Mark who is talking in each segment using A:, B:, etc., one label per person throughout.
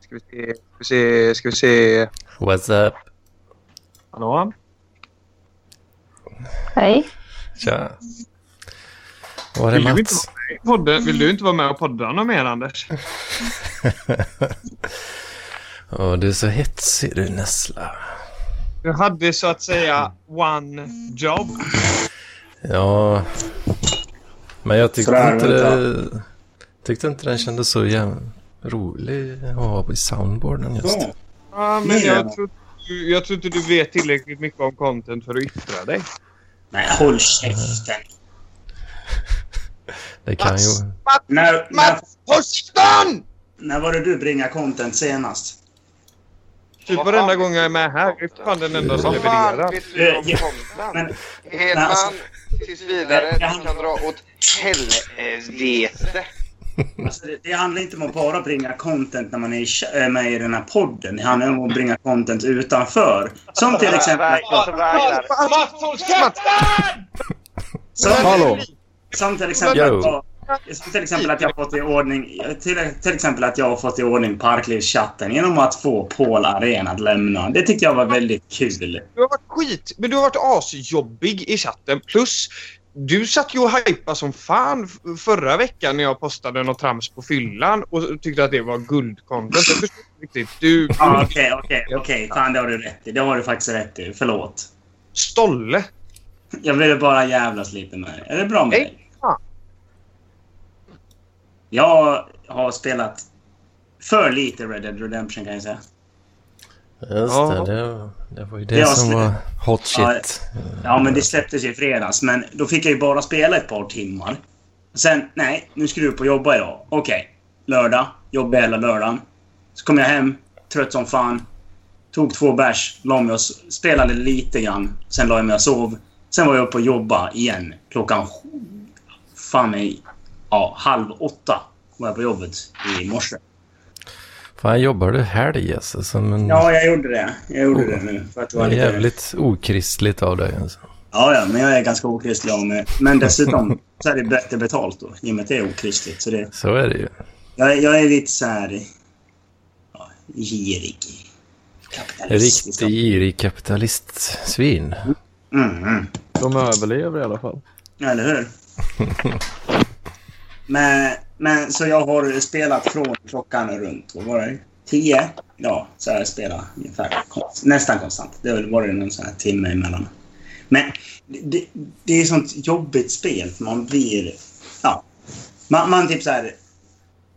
A: Ska vi se, ska vi se, ska vi se.
B: What's up?
A: Hallå?
C: Hej.
B: Tja. Var är
A: Vill du, inte
B: Mats?
A: vara med i podden? Vill du inte vara med och podda något mer Anders?
B: Åh, du är så hetsig du Nessla.
A: Du hade så att säga one job.
B: Ja. Men jag tyckte
D: Sådär,
B: inte
D: vänta.
B: det, Tyckte inte den kändes så jäm... rolig att ha på soundboarden just.
D: Så.
A: Ja, men jag
D: Nej.
A: tror, jag tror inte du vet tillräckligt mycket om content för att yttra dig.
D: Nej, håll käften.
B: Det kan ju...
A: Mats.
D: När, när,
A: Håll käften!
D: när var det du bringade content senast?
A: Typ varenda gång jag är med här. Jag är fan den enda som
E: Vad fan
A: levererar.
E: vet du om
D: Eh, ja,
E: Konrad?
D: men-
E: Hedman,
D: alltså-
E: tills vidare,
D: Nej,
E: du kan dra åt helvete.
D: Alltså, det, det handlar inte om att bara bringa content när man är i ch- eh, med i den här podden. Det handlar om att bringa content utanför. Som till exempel...
E: Ragnar.
A: Mats, håll käften!
D: Som,
F: Hallå.
D: som till exempel...
B: Yo.
D: Att jag, som till exempel att jag har fått i ordning... Till, till exempel att jag har fått i ordning Parklivschatten genom att få Paul Arena att lämna. Det tyckte jag var väldigt kul.
A: Du har varit skit, men du har varit asjobbig i chatten. Plus, du satt ju och hypade som fan f- förra veckan när jag postade något trams på fyllan och tyckte att det var guldcontent. Jag förstår inte riktigt. Du,
D: Ja, Ah, Okej, okej, okej. Fan, det har du rätt i. Det har du faktiskt rätt i. Förlåt.
A: stolle.
D: Jag ville bara jävlas lite med dig. Är det bra med
A: Nej,
D: dig?
A: fan.
D: Jag har spelat för lite Red Dead Redemption kan jag säga.
B: Just
A: Ja.
B: det, det, var- det var ju det
D: Det var
B: som
D: slut.
B: var hot
D: Ja,
B: shit.
D: Ja, men det släpptes i fredags. Men då fick jag ju bara spela ett par timmar. Sen, nej, nu ska du upp och jobba idag. Okej. Lördag. Jobbade hela lördagen. Så kom jag hem, trött som fan. Tog två bärs, la mig och s- spelade lite grann. Sen la jag mig och sov. Sen var jag uppe och jobba igen. Klockan... sju- Fan mig... Ja, halv åtta var jag på jobbet i morse.
B: Fan, jobbar du helg alltså? Som en...
D: Ja, jag gjorde det. Jag gjorde det nu. För att det
B: det var
D: var lite...
B: jävligt okristligt av dig alltså.
D: Ja, ja, men jag är ganska okristlig av mig. Men dessutom så är det bättre betalt då, i och med att det är okristligt. Så det,
B: Så är det ju.
D: jag, är- jag är lite så här... Ja, girig.
B: Riktig
D: Kapitalist. liksom.
B: girig kapitalistsvin.
D: Mm, mm.
F: De överlever i alla fall.
D: Ja, eller hur? men, men så jag har spelat från klockan runt, vad var det? Tio? Ja, så har jag spelat ungefär konst, nästan konstant. Det har väl varit någon sån här timme emellan. Men det, det är ett sånt jobbigt spel för man blir... Ja. Man, man typ så här...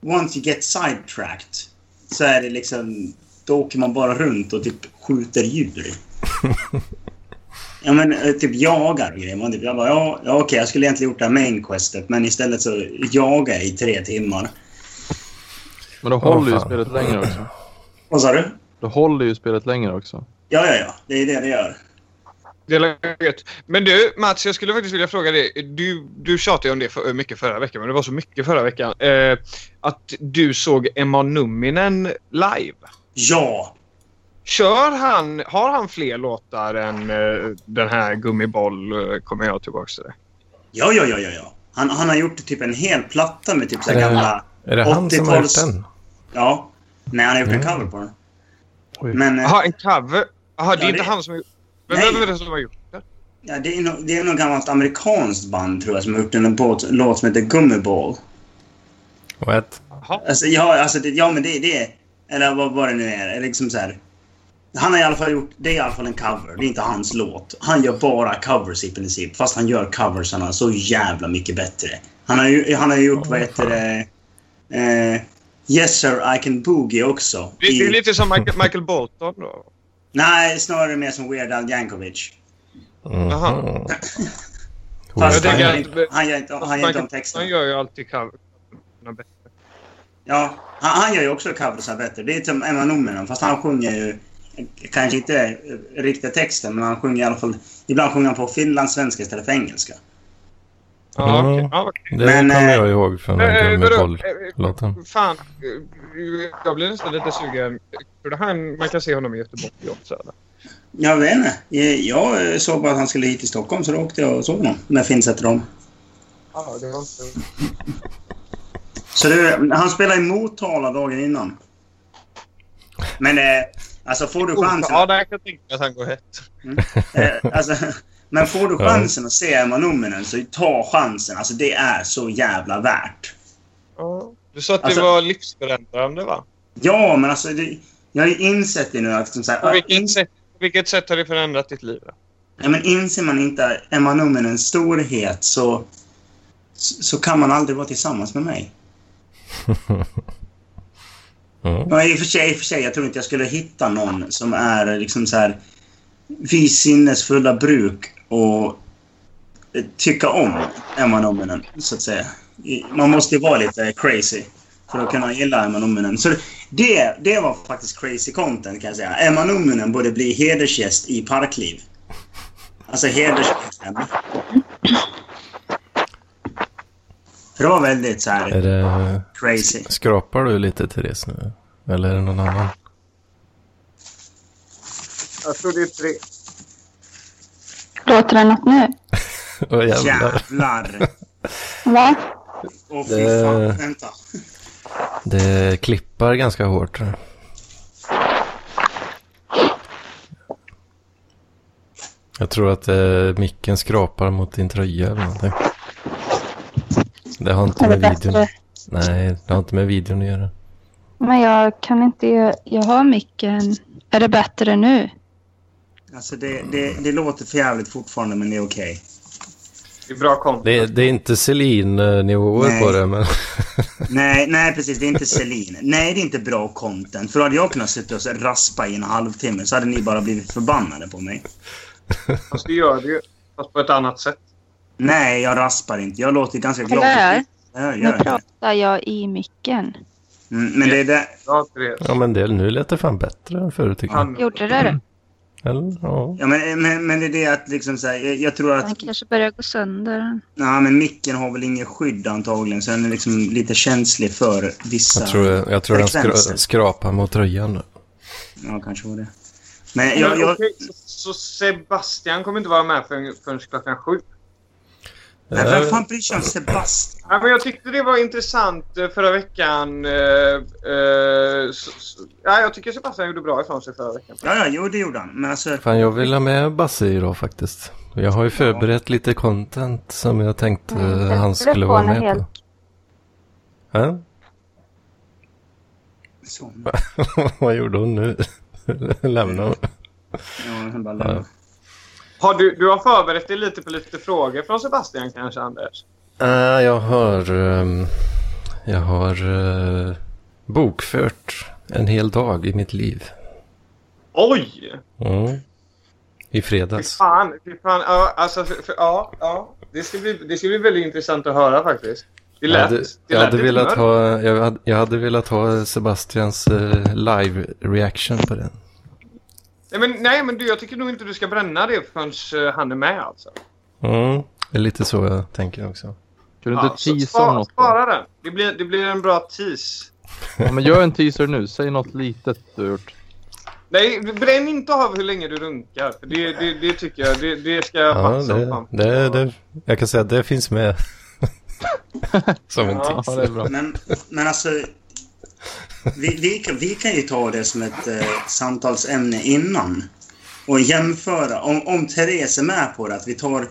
D: Once you get sidetracked så är det liksom... Då åker man bara runt och typ skjuter djur. Ja, men eh, typ jagar och grejer. Man typ, jag bara, ja, ja okej, jag skulle egentligen gjort det här main questet, men istället så jagar jag i tre timmar.
F: Men då håller ju
B: fan.
F: spelet längre också.
D: Vad sa du?
F: Då håller ju spelet längre också.
D: Ja, ja, ja, det är det det gör.
A: Det är gött. Men du Mats, jag skulle faktiskt vilja fråga dig. Du, du tjatade ju om det för, mycket förra veckan, men det var så mycket förra veckan. Eh, att du såg Emma Numminen live.
D: Ja,
A: Kör han, har han fler låtar än eh, den här Gummiboll eh, kommer jag tillbaks till det.
D: ja, ja, ja, ja. ja. Han, han har gjort typ en hel platta med typ så här
B: Är det-
D: gamla...
B: Är det han som har gjort
D: 80-tals
B: den?
D: Ja. Nej, han har gjort en
B: Mm.
D: cover på den.
F: Oj.
D: Men eh,
A: Jaha, en cover? Jaha, det är
D: Ja,
A: inte
D: det-
A: han som har gjort Vem
D: Nej.
A: vem är det som har gjort det?
D: ja, det, är nog, det är något gammalt amerikanskt band tror jag som har gjort en båt, låt som heter Gummiball.
B: What?
A: Jaha.
D: Alltså, ja, alltså, det, ja, men det, det Eller vad, vad det nu är. Eller Liksom så här, han har i alla fall gjort... Det är i alla fall en cover. Det är inte hans låt. Han gör bara covers i princip. Fast han gör coversarna så jävla mycket bättre. Han har ju han har ju gjort, vad heter det... Eh, yes sir, I can boogie också.
A: Det, det är
D: I,
A: lite som Michael, Michael Bolton då.
D: nej, snarare mer som Weird Al Yankovic.
A: Jaha.
B: Mhm.
D: Fast
A: Jag
D: han,
A: tänker
D: gör
A: att-
D: inte, han gör inte, han gör inte om
A: Han
D: texten.
A: gör ju alltid cover.
D: Ja, han, han gör ju också coversar bättre. Det är som Emma Nominen, fast han sjunger ju kanske inte eh, riktiga texten, men han sjunger i alla fall... Ibland sjunger han på finlandssvenska istället för engelska.
A: Ja,
B: Mm.
A: okej. Ja, okej.
B: Det
D: Men,
B: kommer
D: eh,
B: jag ihåg från
A: Eh, eh,
B: den
A: vadå?
B: gummiboll-låten.
A: Eh, eh, Fan, eh, jag blir nästan lite sugen. Tror du han, man kan se honom i Göteborg också eller?
D: Jag vet inte. Eh, Jag eh, såg bara att han skulle hit till Stockholm, så då åkte jag och såg honom. Med Finsätter dem.
A: Ja, det var inte...
D: Så det, han spelar emot Tala dagen innan. Men eh, alltså får
A: Oh,
D: du chansen...
A: Ja, där kan jag tänka mig att han går hett.
D: Eh, alltså, men får du
B: Ja.
D: chansen att se Emma Numminen så ta chansen. Alltså det är så jävla värt.
A: Ja. Du sa att
D: Alltså-
A: det var livsförändrande, va?
D: Ja, men alltså det, jag har ju insett det nu att som så
A: På
D: här, in,
A: vilket, sätt, på vilket sätt har det förändrat ditt liv? Då?
D: ja, men inser man inte Emma Numminens storhet så, så så kan man aldrig vara tillsammans med mig.
B: Mm.
D: Ja, i, och för sig, I och för sig, jag tror inte jag skulle hitta någon som är liksom så här vid sinnesfulla bruk och eh, tycka om Emma Numminen, så att säga. I- Man måste ju vara lite crazy för att kunna gilla Emma Numminen. Så det, det var faktiskt crazy content, kan jag säga. Emma Numminen borde bli hedersgäst i Parkliv. Alltså hedersgäst. Emma. För det var väldigt så
B: Är
D: här
B: det,
D: crazy.
B: skrapar du lite Therese nu? Eller är det någon annan?
E: Jag tror det är tre.
C: Låter det något nu?
B: Åh jävlar.
D: Jävlar!
C: Va?
D: Åh fy
B: Det-
D: fan, vänta.
B: Det klippar ganska hårt. Jag tror att eh, micken skrapar mot din tröja eller någonting. Det har inte
C: Är det
B: med videon...
C: bättre?
B: Nej, det har inte med videon att göra.
C: Men jag kan inte... Jag, jag har micken. Är det bättre nu?
D: Alltså det, det, det låter för jävligt fortfarande, men det är okej.
A: Det är bra konto.
B: Det, det är inte Celine-nivåer
D: Nej.
B: på det, men...
D: Nej, nej, precis. Det är inte Celine. Nej, det är inte bra content. För då hade jag kunnat sitta och så raspa i en halvtimme så hade ni bara blivit förbannade på mig.
A: Fast det gör det ju. Fast på ett annat sätt.
D: Nej, jag raspar inte. Jag låter ganska glad.
C: Kolla här.
D: Ja, jag
C: Nu
D: gör det.
C: pratar jag i micken.
D: Mm, men det är det.
A: Ja, Therese.
B: Ja, men det, nu lät det fan bättre än förut tycker jag.
A: Han,
C: Gjorde det
D: Mm.
C: det?
B: Eller? Ja.
D: Ja, men, men, men det är det att liksom så här, jag, jag tror
C: Den
D: att...
C: kanske börjar gå sönder.
D: Ja, men micken har väl ingen skydd antagligen, så den är liksom lite känslig för vissa...
B: Jag tror, jag tror den skra,
D: Frekvenser.
B: skrapar mot tröjan nu.
D: Ja, kanske var det. Men jag...
A: jag,
D: jag...
A: så Sebastian kommer inte vara med förrän, förrän klockan sju.
D: Men vem fan bryr sig om Sebastian?
A: Ja, men jag tyckte det var intressant eh, förra veckan. eh, eh, s- s- ja, jag tycker Sebastian gjorde bra ifrån sig förra veckan.
D: Ja, ja, jo, det gjorde han. Men alltså...
B: Fan, jag vill ha med Basse idag faktiskt. Jag har ju förberett lite content som jag tänkte
C: Mm,
B: eh,
C: jag
B: han
C: skulle
B: skulle
C: få
B: vara
C: en
B: med
C: hel-
B: på. Hä?
D: Så.
B: Vad gjorde hon nu? Lämnade hon?
D: Ja, han bara lämnar.
A: Har du, du har förberett dig lite på lite frågor från Sebastian kanske, Anders?
B: Eh, jag har... ehm, jag har eh, bokfört en hel dag i mitt liv.
A: Oj!
B: Mm. I
A: Fy
B: fredags.
A: fan. Fy fan. Ja, alltså, för, för, ja, ja. Det, ska bli, det ska bli väldigt intressant att höra faktiskt. Det
B: Jag
A: lät,
B: hade,
A: det
B: jag,
A: lät
B: hade
A: lite mörkt.
B: velat ha, jag, hade, jag hade velat ha Sebastians eh, live-reaction på den.
A: Nej, men, nej, men du, jag tycker nog inte du ska bränna det förrän eh, han är med alltså.
B: Mm. Det är lite så jag tänker också.
F: Kan du inte
A: Ja, så
F: teasa om
A: spara,
F: något? då?
A: spara den. Det blir, det blir en bra tease.
F: Ja, men gör en teaser nu. Säg något litet du har gjort.
A: Nej, bränn inte av hur länge du runkar. För det, det, det tycker jag. Det, det ska jag
B: Ja,
A: passa
B: det,
A: fram.
B: det, det, jag kan säga att det finns med. Som en
A: Ja,
F: Ja,
B: teaser.
F: det är bra.
D: Men, men alltså, vi, vi, kan, vi kan ju ta det som ett eh, samtalsämne innan och jämföra. Om, om Therese är med på det, att vi tar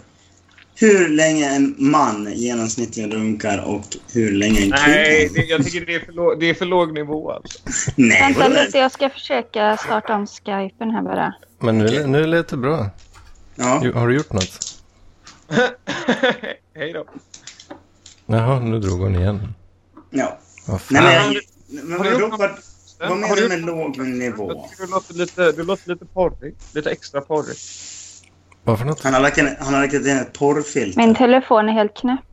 D: hur länge en man genomsnittligen runkar och hur länge en kvinna...
A: Nej, det, jag tycker det är, för låg, det är för låg nivå alltså.
D: Nej,
C: Vänta
D: vadå?
C: lite, jag ska försöka starta om skypen här bara.
B: Men nu, nu lät det bra.
D: Ja,
B: Jo, Har du gjort något?
A: Hej då.
B: Jaha, nu drog hon igen.
D: ja.
B: Vad fan.
D: Nej, men,
A: Har
D: jag,
A: du-
D: men
A: har du
D: vadå,
A: gjort
D: vad, vad
A: Har
D: menar
A: du
D: du
A: gjort
D: med
A: något?
D: låg
A: Jag
D: nivå?
A: tycker du låter lite, du låter lite porrig. Lite extra porrig.
B: Vad för något?
D: Han har lagt in, han har lagt in ett porrfilter.
C: Min telefon är helt knäpp.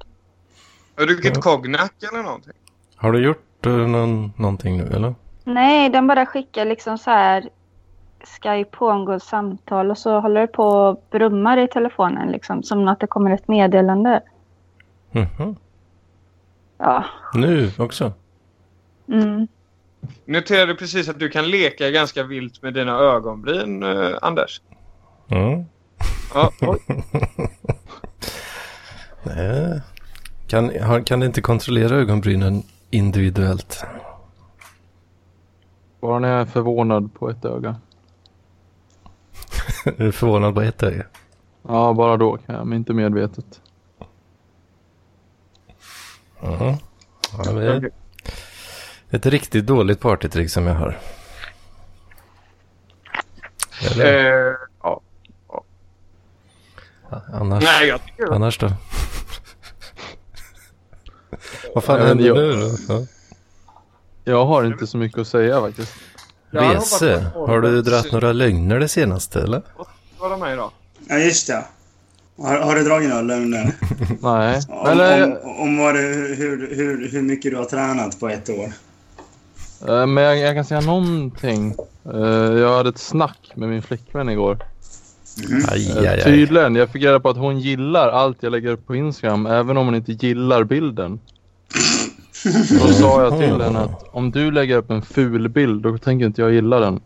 A: Har du druckit cognac eller någonting?
B: Har du gjort eh, någon, någonting nu eller?
C: Nej, den bara skickar liksom så här Skype pågår samtal och så håller det på och brummar i telefonen liksom som att det kommer ett meddelande.
B: Mhm.
C: Ja.
B: Nu också?
C: Mm.
A: Noterade precis att du kan leka ganska vilt med dina ögonbryn, eh, Anders.
B: Mm.
A: Ja, oj.
B: Nej. Kan, har, kan du inte kontrollera ögonbrynen individuellt.
F: Bara när jag är förvånad på ett öga.
B: Är du förvånad på ett öga?
F: Ja, bara då kan jag, men inte medvetet.
B: Jaha. Mm. Ja, det är ett riktigt dåligt partytrick som jag har. Eller?
A: Eh, ja.
B: Annars,
A: Nej, jag tycker
B: annars då? Vad fan
F: Nej, men
B: händer
F: jag-
B: nu då? Ja.
F: Jag har inte så mycket att säga faktiskt.
A: Jag har
B: Rese,
A: hoppat på-
B: har du dragit några lögner det senaste eller?
A: vara med idag.
D: Ja, just det. Har, har du dragit några lögner?
F: Nej, eh,
D: Om,
F: eller,
D: om, om vad du, hur, hur, hur mycket du har tränat på ett år?
F: eh, men jag, jag kan säga någonting. Eh, Jag hade ett snack med min flickvän igår. Eh,
B: Aj, aj, aj.
F: Tydligen, jag fick reda på att hon gillar allt jag lägger upp på Instagram, även om hon inte gillar bilden. Då sa jag till henne att om du lägger upp en ful bild, då tänker inte jag gilla den.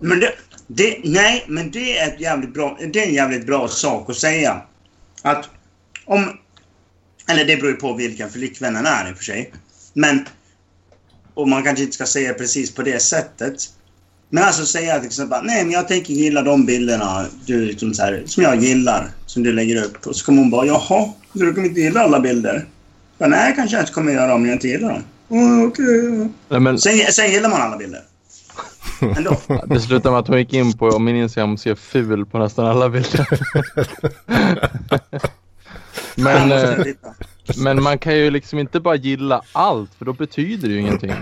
D: Men det, det, nej, men det är, ett jävligt bra, det är en jävligt bra sak att säga. Att om... Eller det beror ju på vilken flickvännen är i och för sig. Men... Och man kanske inte ska säga precis på det sättet. Men alltså säga till exempel nej men jag tänker gilla de bilderna du, liksom så här, som jag gillar, som du lägger upp. Och så kommer hon bara, jaha, så du kommer inte gilla alla bilder? Bara, nej, kanske jag inte kommer göra om jag inte gillar dem. "Åh, Okej.
F: Nej, men
D: Sen, sen gillar man alla bilder. Ändå.
F: det slutade med att hon gick in på om min Instagram ser ful på nästan alla bilder. men,
D: Ja,
F: eh,
D: måste titta.
F: men man kan ju liksom inte bara gilla allt, för då betyder det ju ingenting.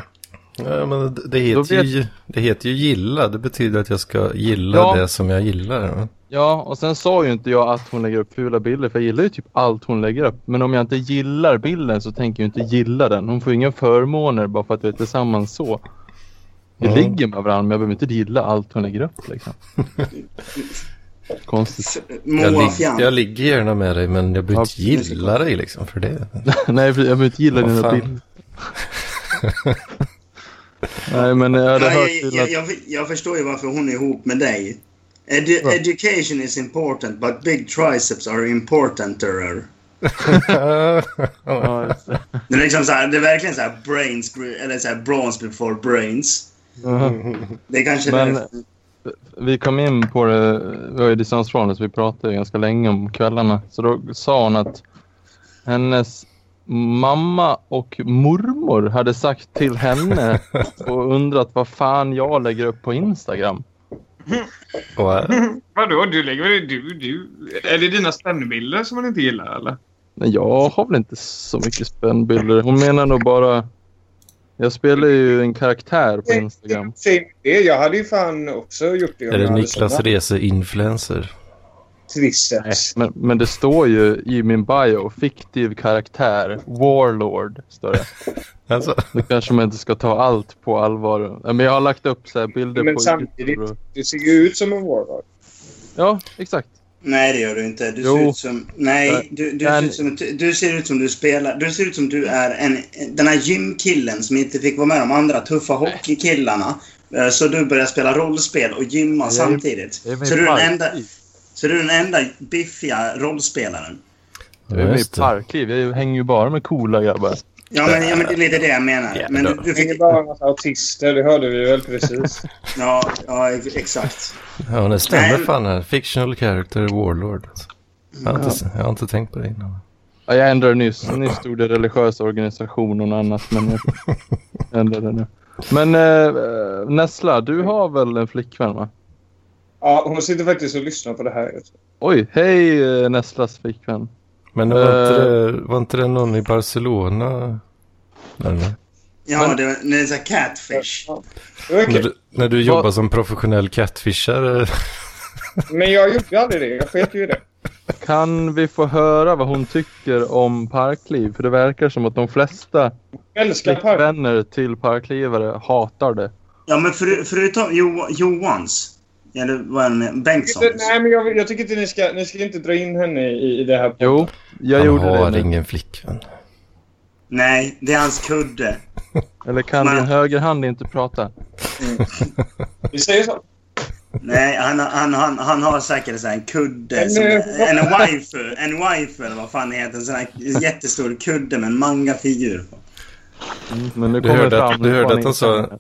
B: Ja, men det,
F: Då
B: heter
F: vet-
B: ju, det heter ju gilla. Det betyder att jag ska gilla
F: Ja.
B: det som jag gillar. va?
F: Ja, och sen sa ju inte jag att hon lägger upp fula bilder, för jag gillar ju typ allt hon lägger upp. Men om jag inte gillar bilden så tänker jag inte gilla den. Hon får ju inga förmåner bara för att vi är tillsammans så. Vi
B: Mm.
F: ligger med varandra, men jag behöver inte gilla allt hon lägger upp liksom. Konstigt.
B: Jag,
D: Moa
B: lig,
D: Fjärn.
B: jag ligger gärna med dig men jag behöver inte
F: Ja, precis.
B: gilla dig liksom för det.
F: Nej, jag behöver inte gilla
B: Vad
F: dina
B: fan.
F: bilder. Nej, men jag hade
D: Ja,
F: hört
D: jag,
F: till
D: jag,
F: att...
D: jag, jag förstår ju varför hon är ihop med dig. Edu
F: Ja.
D: Education is important but big triceps are importanter.
F: Ja,
B: äh,
F: just det.
D: Det är, liksom så här, det är verkligen så här brains, eller så här brawns before brains. Det är kanske
F: Men-
D: det.
F: Vi kom in på det, vi har ju distansförhållande så vi pratade ju ganska länge om kvällarna. Så då sa hon att hennes mamma och mormor hade sagt till henne och undrat vad fan jag lägger upp på Instagram.
B: Och, äh,
A: Vadå? Du lägger väl du, du... Är det dina spännbilder som man inte gillar eller?
F: Men jag har väl inte så mycket spännbilder. Hon menar nog bara... Jag spelar ju en karaktär på Instagram.
A: Säg det. Jag hade ju fan också gjort det. om
B: är
A: jag
B: det
A: hade
B: Niklas
A: sådana
B: Rese-influencer?
F: Nej,
A: Triceps.
F: men, men det står ju i min bio, fiktiv karaktär, warlord, står det.
B: Alltså,
F: Då kanske man inte ska ta allt på allvar. Ja, Men jag har lagt upp så här bilder
A: Men
F: på...
A: samtidigt- Det ser ju ut som en warlock.
F: Ja, exakt.
D: Nej, det gör du inte. Du ser
F: Jo.
D: ut som... Nej, du, du,
F: Men-
D: ser ut som, du ser ut som du spelar... Du ser ut som du är en, den här gymkillen som inte fick vara med de andra tuffa hockeykillarna. Eh, Så du börjar spela rollspel och gymma
F: Jag är-
D: samtidigt.
F: Jag är med
D: Så
F: i
D: du är den enda...
F: parkliv.
D: Så du är den enda biffiga rollspelaren?
B: ja,
F: Jag är med i
B: just det.
F: parkliv. Jag hänger ju bara med coola grabbar.
D: Ja, men, ja, men det är lite det jag menar. Men du, du
A: Det är
D: fick,
A: bara en massa autister, det hörde vi väl precis.
D: ja, ja, exakt.
B: Ja, det stämmer
D: Nej.
B: fan här. Fictional character warlord. alltså. Jag har, inte, jag har inte tänkt på det innan.
F: Ja, jag ändrade nyss. Nyss stod det religiös organisation och något annat. Men jag ändrade det nu. Men eh, Nessla, du har väl en flickvän va?
A: Ja, hon sitter faktiskt och lyssnar på det här. just nu.
F: Oj, hej eh, Nesslas flickvän.
B: Men
F: Eh.
B: var, inte det, var inte det någon i Barcelona? Eller?
D: Ja, det, var- det är så här catfish.
A: Ja. Det var
B: När
A: kul.
B: du, när du jobbar som professionell catfishare?
A: Men jag gjorde aldrig det. Jag sket ju i det.
F: Kan vi få höra vad hon tycker om parkliv? För det verkar som att de flesta
A: Jag älskar park.
F: flickvänner till parklivare hatar det.
D: Ja, men för, förutom jo, Johans. Eller vad är det med? Bengtssons.
A: Nej, men jag, jag tycker inte ni ska, ni ska inte dra in henne i, i det här.
F: Jo, jag
B: Han
F: gjorde det.
B: har
F: nu.
B: ingen flickvän.
D: Nej, det är hans kudde.
F: Eller kan
D: Men-
F: din höger hand inte prata?
A: Vi säger så.
D: Nej, han, han, han, han har säkert så här en kudde.
A: En
D: Som,
A: ufo.
D: en wife. En wife eller vad fan det heter. En sån här jättestor kudde med en mangafigur på.
F: Mm, Men nu
B: Du
F: kommer
B: hörde
F: det fram.
B: att- du
F: Det
B: hörde
F: var
B: att han sa-
F: inte-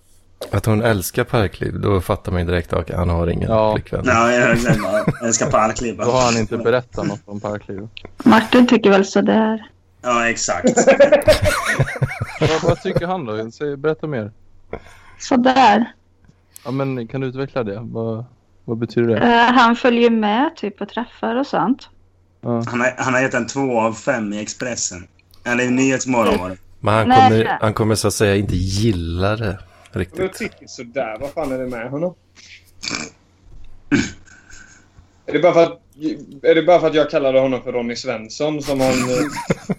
B: Att hon älskar parkliv, då fattar man ju direkt att han har ingen
F: Ja.
B: flickvän.
D: Ja, jag glömmer. Jag ska parkliva.
F: Då har han inte berättat något om parkliv.
C: Martin tycker väl sådär.
D: Ja, exakt.
F: Vad, vad tycker han då? Säg, berätta mer.
C: Sådär.
F: Ja, men kan du utveckla det? Vad, vad betyder det?
C: Eh, han följer med typ på träffar och sånt.
F: Ja.
D: Han har, han har gett en två av fem i Expressen. Eller i Nyhetsmorgon var det.
B: Men han
C: Nej.
B: kommer, han kommer så att säga inte gilla det
A: Men jag
B: riktigt.
A: tycker sådär. Vad fan är det med honom? Är det bara för att, är det bara för att jag kallade honom för Ronny Svensson som han... eh,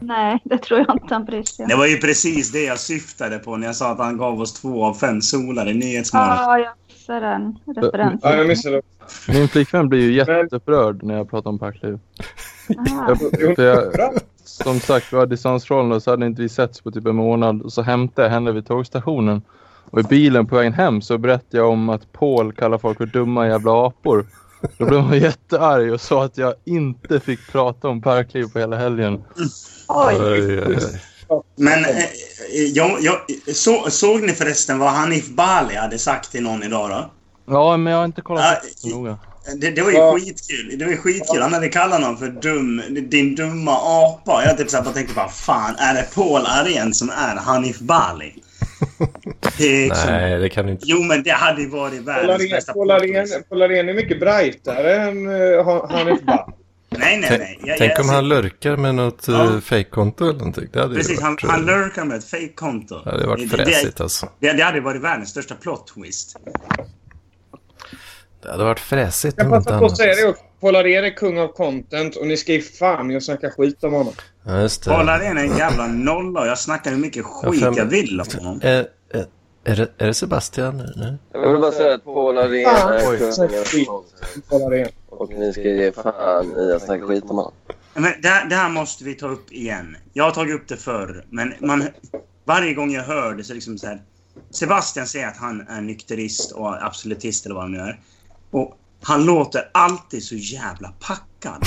C: Nej, det tror jag inte han bryr sig om.
D: Det var ju precis det jag syftade på när jag sa att han gav oss två av fem solar i Nyhetsmorgon.
C: Ja, Ah, jag missar den referensen.
A: Ja, jag missade.
F: Min flickvän blir ju jätteupprörd när jag pratar om parkliv.
C: Aha.
F: Jag, för jag, som sagt, vi var distansrollen och så hade inte vi setts på typ en månad. Och så hämtade jag henne vid tågstationen. Och i bilen på vägen hem så berättade jag om att Paul kallar folk för dumma jävla apor. Då blev hon jättearg och sa att jag inte fick prata om parkliv på hela helgen.
B: Oj,
C: Oj.
B: oj, oj.
D: Men eh, eh, jag, jag, så, såg ni förresten vad Hanif Bali hade sagt till någon idag då?
F: Ja, men jag har inte kollat
D: Ja,
F: upp det så noga.
D: Det, det var ju
A: Ja.
D: skitkul. Det var ju skitkul. Han hade kallat någon för dum, din dumma apa. Jag typ så här bara tänkte bara fan, är det Paul Arén som är Hanif Bali? Det är liksom,
B: Nej, det kan du inte.
D: Jo, men det hade ju varit världens bästa
A: Paul Arén
D: podcast.
A: Paul Arén är mycket brightare än eh, han- Hanif Bali.
D: Nej, nej, nej. Jag-
B: Tänk
D: jag-
B: om han lurkar med något
D: Ja.
B: ja. fejkkonto eller någonting. Det hade ju
D: Precis, han,
B: varit,
D: han
B: eh,
D: lurkar med ett fake-konto.
B: det hade varit
D: det, det,
B: fräsigt alltså.
D: det, det hade varit världens största plot twist.
B: Det hade varit fräsigt
A: Jag
B: om inte
A: passar på att
B: annat.
A: säga det också. Paul Arén är kung av content och ni ska ju fan i att snacka skit om honom.
B: Ja, just det.
D: Paul Arén är en jävla nolla och jag snackar hur mycket skit
B: fem-
D: jag vill om honom.
B: Eh, eh, är, det, är det Sebastian nu? Nej.
G: Jag vill bara säga att Paul Arén är
A: Oj.
G: kungen av content.
A: Paul Arén.
G: Och ni ska ge fan i att snacka skit om honom.
D: Men det, här- det här måste vi ta upp igen. Jag har tagit upp det förr, men man, varje gång jag hör det så är det liksom så här. Sebastian säger att han är nykterist och absolutist eller vad han nu är. Och han låter alltid så jävla packad.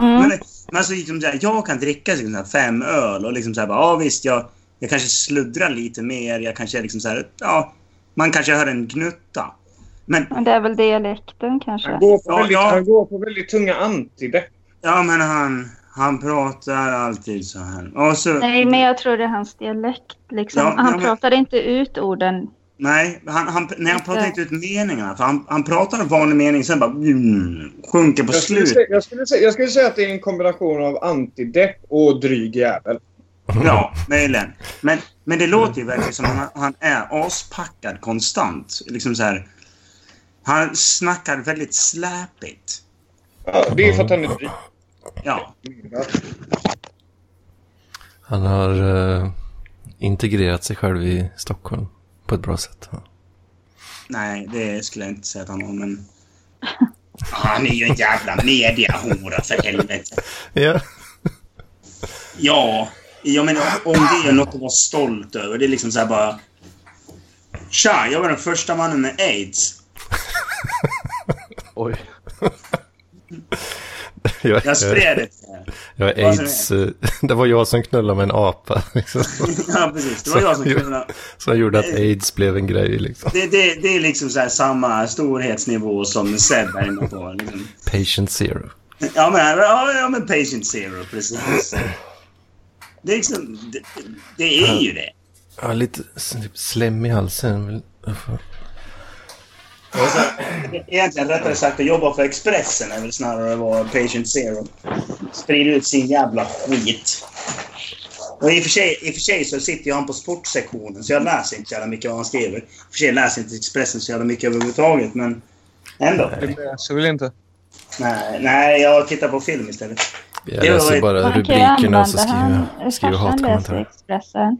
C: Mm.
D: Men, men så liksom så här, jag kan dricka liksom så här fem öl och liksom så här, bara, ja visst, jag, jag kanske sluddrar lite mer. Jag kanske liksom så här, ja, man kanske hör en gnutta. Men,
C: Men det är väl dialekten kanske.
A: Han går på
D: Ja,
A: väldigt,
D: ja.
A: han går på väldigt tunga antidepp.
D: ja men han, han pratar alltid så här. Och så,
C: Nej, men jag tror det är hans dialekt. Liksom.
D: Ja,
C: han
D: ja, men-
C: pratar inte ut orden.
D: Nej, han, han, nej, han
C: Inte.
D: pratar inte ut meningarna. För han, han pratar en vanlig mening, sen bara mm, sjunker på
A: Jag skulle,
D: slut.
A: säga, jag, skulle säga, jag skulle säga att det är en kombination av antidepp och dryg jävel.
D: Ja, möjligen. Men, men det låter ju verkligen som att han, han är aspackad konstant. Liksom så här, han snackar väldigt släpigt.
A: Ja, det är för att han är dryg.
D: Ja,
B: Han har eh, integrerat sig själv i Stockholm på ett bra sätt. Ja.
D: nej, det skulle jag inte säga att han har, men... Han är ju en jävla mediahora, för helvete. Ja, jag menar om det är något att vara stolt över. Det är liksom så här bara... Tja, jag var den första mannen med aids.
F: Oj.
B: Jag,
D: Jag
B: jag,
D: spred det till er.
B: jag är aids. eh, Det var jag som knullade med en apa. Liksom,
D: Ja, precis. Det var jag som kunde...
B: som gjorde att aids blev en grej. Liksom.
D: Det, det, det är liksom så här samma storhetsnivå som Seb är inne på. Liksom.
B: Patient zero.
D: Ja, men, ja, ja, men patient zero, precis. Det är, liksom, det, det är ju det.
B: Ja, lite s- typ slem i halsen.
D: Egentligen rättare sagt att jobba för Expressen är väl snarare att vara patient zero. Sprider ut sin jävla skit. Och i och för sig, i och för sig så sitter jag han på sportsektionen så jag läser inte så jävla mycket vad han skriver. I och för sig läser jag inte Expressen så jävla mycket överhuvudtaget men ändå.
A: Så vill jag inte.
D: Nej, nej, jag tittar på film istället.
B: Jag
D: Jo,
B: läser bara
C: Han kan ju
B: rubrikerna och så
C: använda-
B: skriver
C: han-
B: jag skriver
C: farsan läser
B: hatkommentarer.
C: Expressen.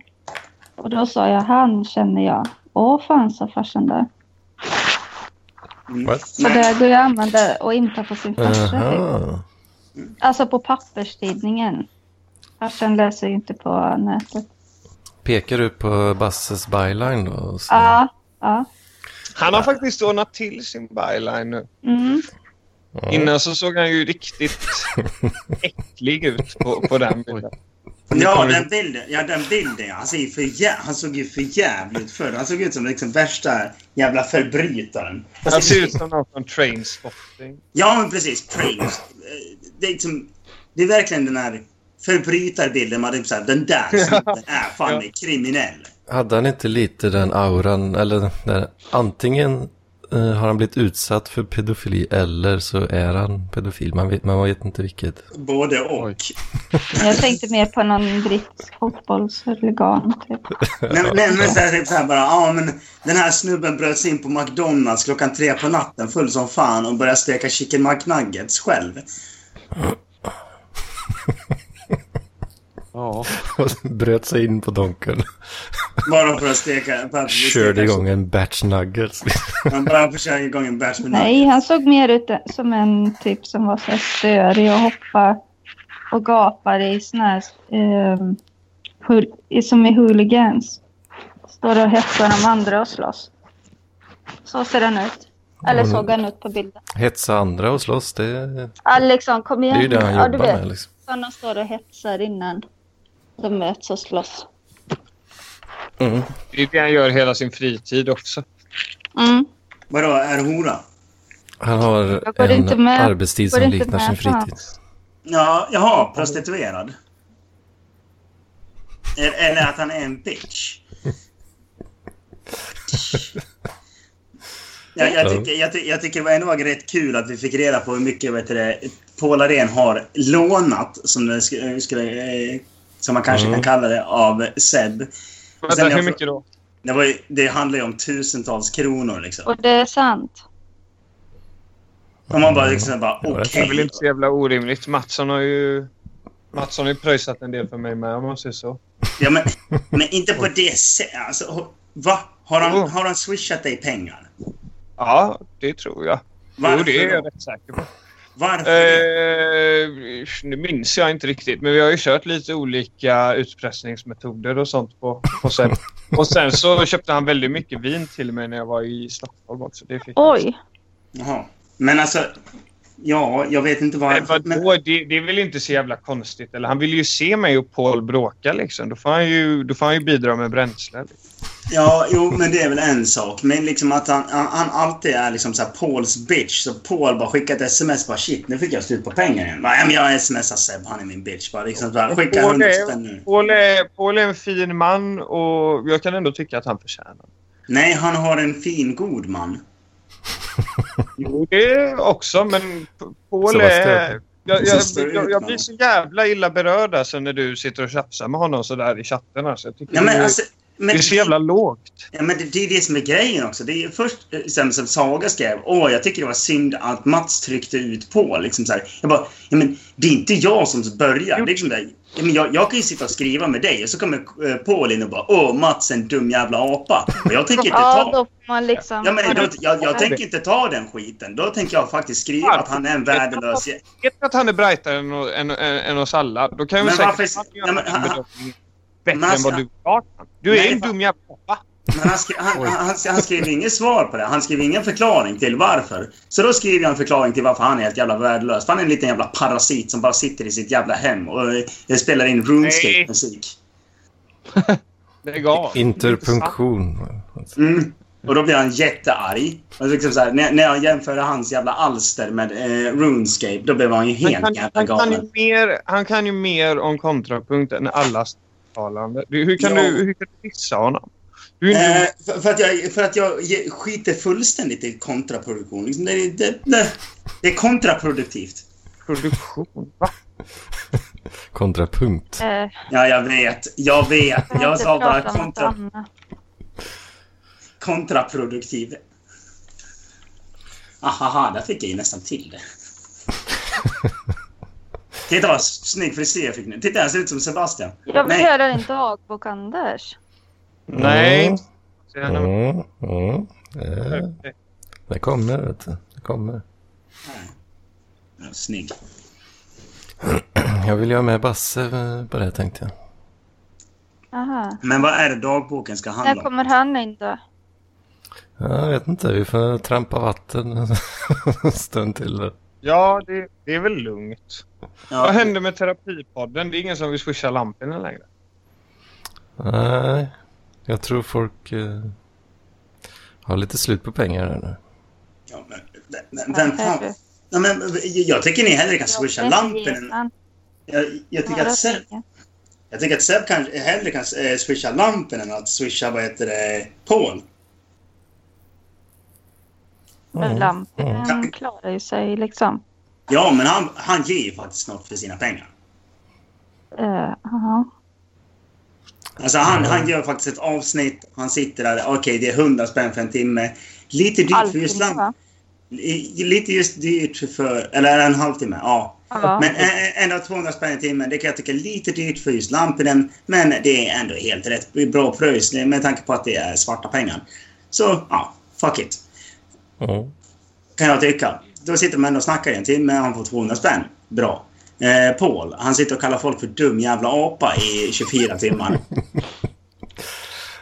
C: Och då sa jag han känner jag. Åh fan sa farsan där.
D: Mm.
B: What?
C: Så det går ju att använda och inta på sin farsa. typ.
B: Aha.
C: Alltså på papperstidningen. Farsan läser ju inte på nätet.
B: Pekar du på Basses byline då? Och så-
C: Ja, ja.
A: Han har faktiskt ordnat till sin byline nu.
C: Mm.
A: Innan så såg han ju riktigt äcklig ut på, på den bilden.
D: Ja, den bilden. Ja, den bilden. ja. Han, ser ju för jä- han såg ju för jävligt ut förr. Han såg ut som liksom värsta jävla förbrytaren. Fast
A: Han
D: det-
A: ser ut som någon från Trainspotting.
D: Ja, men precis. Prince. Eh, Det är, liksom, det är verkligen den här förbrytarbilden. Man är så här, den där snubben är fan kriminell.
B: Hade han inte lite den auran, eller den, antingen eh, har han blivit utsatt för pedofili eller så är han pedofil. Man vet, man vet inte vilket.
D: Både och.
F: Oj.
C: Jag tänkte mer på någon brittisk fotbollshuligan. Typ.
D: Nej, men- nej, men så här, typ så här bara, ja men den här snubben bröt sig in på McDonalds klockan tre på natten full som fan och började steka chicken McNuggets själv.
F: Ja.
B: Bröt sig in på Donken.
D: Bara för att steka... För att
B: Körde
D: steka-
B: igång en batch nuggets.
D: Han bara för att köra igång en bärs med
C: Nej, han såg mer ut som en typ som var så här störig och hoppade och gapade i såna här... ehm, hul- i- som i hooligans. Står och hetsar de andra och slåss. Så ser han ut. Eller
B: Ja, men-
C: såg han ut på bilden.
B: Hetsa andra och slåss, det,
C: Alexson, kom
B: det
C: igen.
B: är ju det han
C: ja, du
B: jobbar
C: vet.
B: med. Liksom.
C: Sådana står och hetsar innan de möts och slåss.
B: Mm.
A: Det är det han gör hela sin fritid också.
C: Mm.
D: Vadå, är hora?
B: Han har
C: Jag går inte
B: en
C: med-
B: arbetstid
C: går
B: som
C: inte
B: liknar
C: med
B: sin
C: på hans-
B: fritid.
D: Ja, jaha, prostituerad. E- Eller att han är en bitch. Ja, jag, tycker, jag, ty- jag tycker det var ändå var rätt kul att vi fick reda på hur mycket vet du, det, Paul Arén har lånat, som, det skulle, skulle, eh, som man kanske
B: Mm.
D: kan kalla det, av Seb. Och sen
A: Vänta,
D: jag
A: hur
D: frå-
A: mycket då?
D: Det, var ju, det handlar ju om tusentals kronor. Liksom.
C: Och det är sant.
D: Och man bara, liksom, bara
B: Ja, det är
A: Det
D: okej.
A: är väl inte så jävla orimligt. Mattsson har ju... Mattsson har ju pröjsat en del för mig med om man säger så.
D: Ja, men, men inte på det sättet. Alltså, ho- va? Har han,
A: Jo.
D: har han swishat dig pengar?
A: Ja, det tror jag. jo, det är
D: då?
A: jag rätt säker på.
D: Varför?
A: Eh, nu minns jag inte riktigt, men vi har ju kört lite olika utpressningsmetoder och sånt på, på sen. Och sen så köpte han väldigt mycket vin till mig när jag var i Stockholm också. Det fick jag.
C: Oj!
D: Jaha. Men alltså, ja, jag vet inte
A: Nej,
D: varför. Men,
A: Eh, vadå? Det, det är väl inte så jävla konstigt? Eller han vill ju se mig och Paul bråka liksom. Då får han ju, då får han ju bidra med bränsle. liksom.
D: ja, jo, men det är väl en sak. Men liksom att han, han, han alltid är liksom så här Pauls bitch. Så Paul bara skickar ett sms bara shit, nu fick jag slut på pengar igen. Bara, ja, men jag smsar Seb, han är min bitch. Bara, liksom, så här, skicka
A: Paul
D: 100
A: är-
D: spänn nu.
A: Paul är, Paul är en fin man och jag kan ändå tycka att han förtjänar det.
D: Nej, han har en fin god man.
A: Jo, det också, men P- Paul
B: Sebastian.
A: är... Jag, jag,
D: Sebastian.
A: jag, jag blir så jävla illa berörd alltså när du sitter och tjafsar med honom sådär i chatten. Alltså. Jag tycker
D: Ja,
A: det,
D: men
A: är-
D: alltså,
A: det
D: men,
A: är så jävla lågt.
D: Ja, men det, det är det som är grejen också. Det är först eh, sen som Saga skrev, åh, jag tycker det var synd att Mats tryckte ut på. Liksom så här. Jag bara, ja, men det är inte jag som börjar. Det är liksom där, ja, men jag, jag kan ju sitta och skriva med dig och så kommer eh, Paul in och bara, åh, Mats är en dum jävla apa. Och jag tänker inte
C: Ja,
D: ta...
C: då får man liksom...
D: Ja, men då, jag, jag
A: det.
D: tänker inte ta den skiten. Då tänker jag faktiskt skriva att han är en värdelös... jä-
A: Vet du att han är brightare än, än, än, än oss alla, då kan jag väl
D: Men
A: säkert
D: varför-
A: att han
D: Nej, men
A: gör en
D: han-
A: bedömning bättre
D: Men han
A: än vad
D: ska-
A: du har. Du
D: Nej,
A: är en
D: fan.
A: dum jävla pappa.
D: Men han, skri han, han, han skriver inget svar på det. Han skriver ingen förklaring till varför. Så då skriver jag en förklaring till varför han är helt jävla värdelös. För han är en liten jävla parasit som bara sitter i sitt jävla hem och eh, spelar in RuneScape-musik.
A: Lägg av.
B: Interpunktion.
D: Mm. Och då blir han jättearg. Och liksom så här, när, när jag jämför hans jävla alster med eh, RuneScape, då blev han ju
A: Han
D: helt
A: kan,
D: jävla
A: han, kan ju
D: galen.
A: mer, han kan ju mer om kontrapunkt än alla talande. Du- Hur kan
D: Ja.
A: du hur kan du dissa honom? Du är en dum
D: Eh, för, för, att jag, för att jag ge- skiter fullständigt i kontraproduktion. Liksom, det, det, det, det är kontraproduktivt.
A: produktion. Va?
B: Kontrapunkt.
C: Eh,
D: Ja, jag vet. Jag vet.
C: kan
D: Jag
C: inte
D: sa bara
C: prata om något
D: kontra,
C: annat.
D: kontraproduktiv. Ahaha, där fick jag ju nästan till det. Titta vad snygg frisyr jag fick nu. Titta, jag ser ut som Sebastian.
C: Jag vill
D: Nej,
C: göra en dagbok, Anders.
A: Nej.
B: Mm. Mm, mm, eh, det kommer, vet du. Det kommer.
D: Ja, snygg.
B: Jag vill göra med Basse eh, på det här, tänkte jag.
C: Aha.
D: Men vad är det dagboken ska handla
C: När
D: om?
C: kommer han in då?
B: Ja, jag vet inte, vi får trampa vatten en stund till. där.
A: Ja, det, det är väl lugnt.
D: Ja.
A: Vad hände med terapipodden? Det är ingen som vill swisha lamporna längre.
B: Nej, jag tror folk eh, har lite slut på pengar här nu.
D: Ja, men, vem, vem fan? Ja, men, jag tycker ni hellre kan swisha lampen än... Jag, jag, tycker att Seb, jag tycker att Seb kan, hellre kan eh, swisha lampen än att swisha, vad heter det, Paul.
C: Men lamporna
D: Mm.
C: klarar ju sig liksom.
D: Ja, men han, han ger ju faktiskt något för sina pengar.
C: Eh, aha.
D: Alltså han, han gör faktiskt ett avsnitt. Han sitter där. Okej, det är 100 spänn för en timme. Lite dyrt för just
C: Allting,
D: lamp.
C: va?
D: i- Lite just dyrt för... Eller en halvtimme, ja.
C: Ja.
D: Men ä- ä- ändå 200 spänn i timmen. Det kan jag tycka är lite dyrt för just Lampinen. Men det är ändå helt rätt bra pröjs med tanke på att det är svarta pengar. Så ja, fuck it.
B: Mm.
D: Kan jag tycka. Då sitter man ändå och snackar i en timme. Han får 200 spänn. Bra. Eh, Paul, han sitter och kallar folk för dum jävla apa i 24 timmar.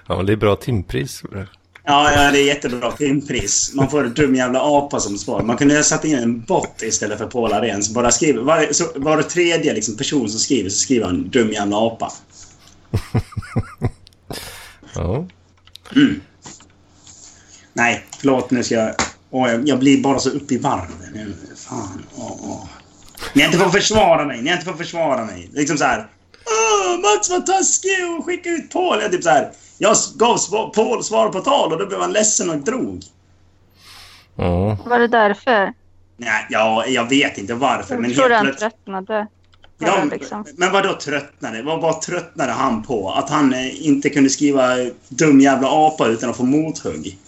B: Ja, men det är bra timpris. för det.
D: Ja, ja, det är jättebra timpris. Man får en dum jävla apa som svar. Man kunde ha satt in en bot istället för Paul Arens. Bara skriver, var, så, var tredje liksom, person som skriver så skriver han dum jävla apa.
B: Ja.
D: Nej, förlåt nu ska jag... Åh, jag, jag blir bara så uppe i varv nu. Fan. Åh, åh. Ni har inte fått försvara mig. Ni har inte fått försvara mig. Liksom så här... Åh, Mats var taskig och skickade ut Paul. Jag typ så här... Jag gav svar, Paul svar på tal och då blev han ledsen och drog.
B: Ja.
C: Var det därför?
D: Nej, ja, jag vet inte varför, men
C: Jag
D: helt
C: tror han
D: plötsligt...
C: tröttnade.
D: Ja,
C: Ja,
D: men-
C: liksom.
D: Men vad då tröttnade? Vad, vad tröttnade han på? Att han eh, inte kunde skriva eh, dum jävla apa utan att få mothugg?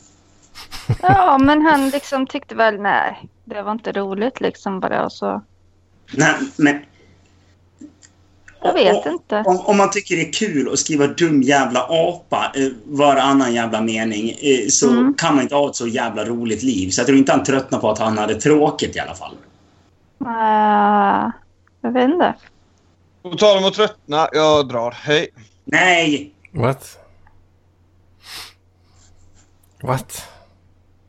C: ja, men han liksom tyckte väl nej, det var inte roligt liksom bara och så.
D: Nej, men...
C: Jag vet inte.
D: Om, om man tycker det är kul att skriva dum jävla apa eh, varannan jävla mening eh, så
C: Mm.
D: kan man inte ha ett så jävla roligt liv. Så jag tror inte han tröttnade på att han hade tråkigt i alla fall.
C: Uh, jag vet inte.
A: På tal om att tröttna, jag drar. Hej.
D: Nej!
B: What? What?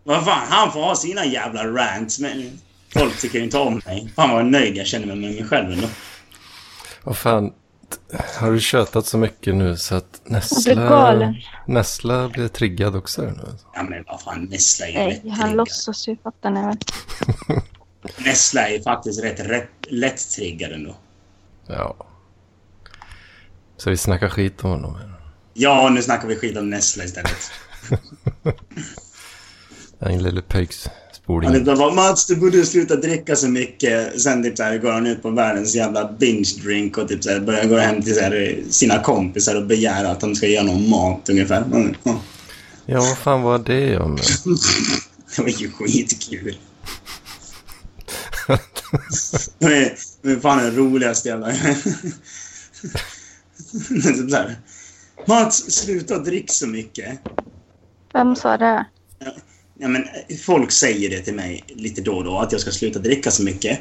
D: Vad fan, han får ha sina jävla rants. Men folk tycker inte om mig. Fan vad nöjd jag känner mig med mig själv ändå.
B: Vad fan? Har du tjötat så mycket nu så att
C: Jag blir
B: Nessla,
C: galen.
B: Nessla blir triggad också här nu?
D: Ja, men vad fan, Nessla är ju
C: Nej,
D: lättriggad.
C: han låtsas ju, fattar ni väl?
D: Nessla är faktiskt rätt, rätt lätt triggad ändå.
B: Ja. Så vi snackar skit om honom här.
D: Ja, nu snackar vi skit om Nessla istället.
B: Den lille
D: Han
B: pöjkspolingen.
D: är bara Mats, du borde sluta dricka så mycket. Sen typ så här, går han ut på världens jävla binge drink och typ så här, börjar gå hem till så här, sina kompisar och begära att de ska göra någon mat ungefär. Mm. ja.
B: Ja, vad fan var det om?
D: Det var ju skitkul. Det är- det är fan den roligaste jävla... Det är typ så här, Mats, sluta dricka så mycket.
C: Vem sa det?
D: Ja, men eh, folk säger det till mig lite då och då, att jag ska sluta dricka så mycket.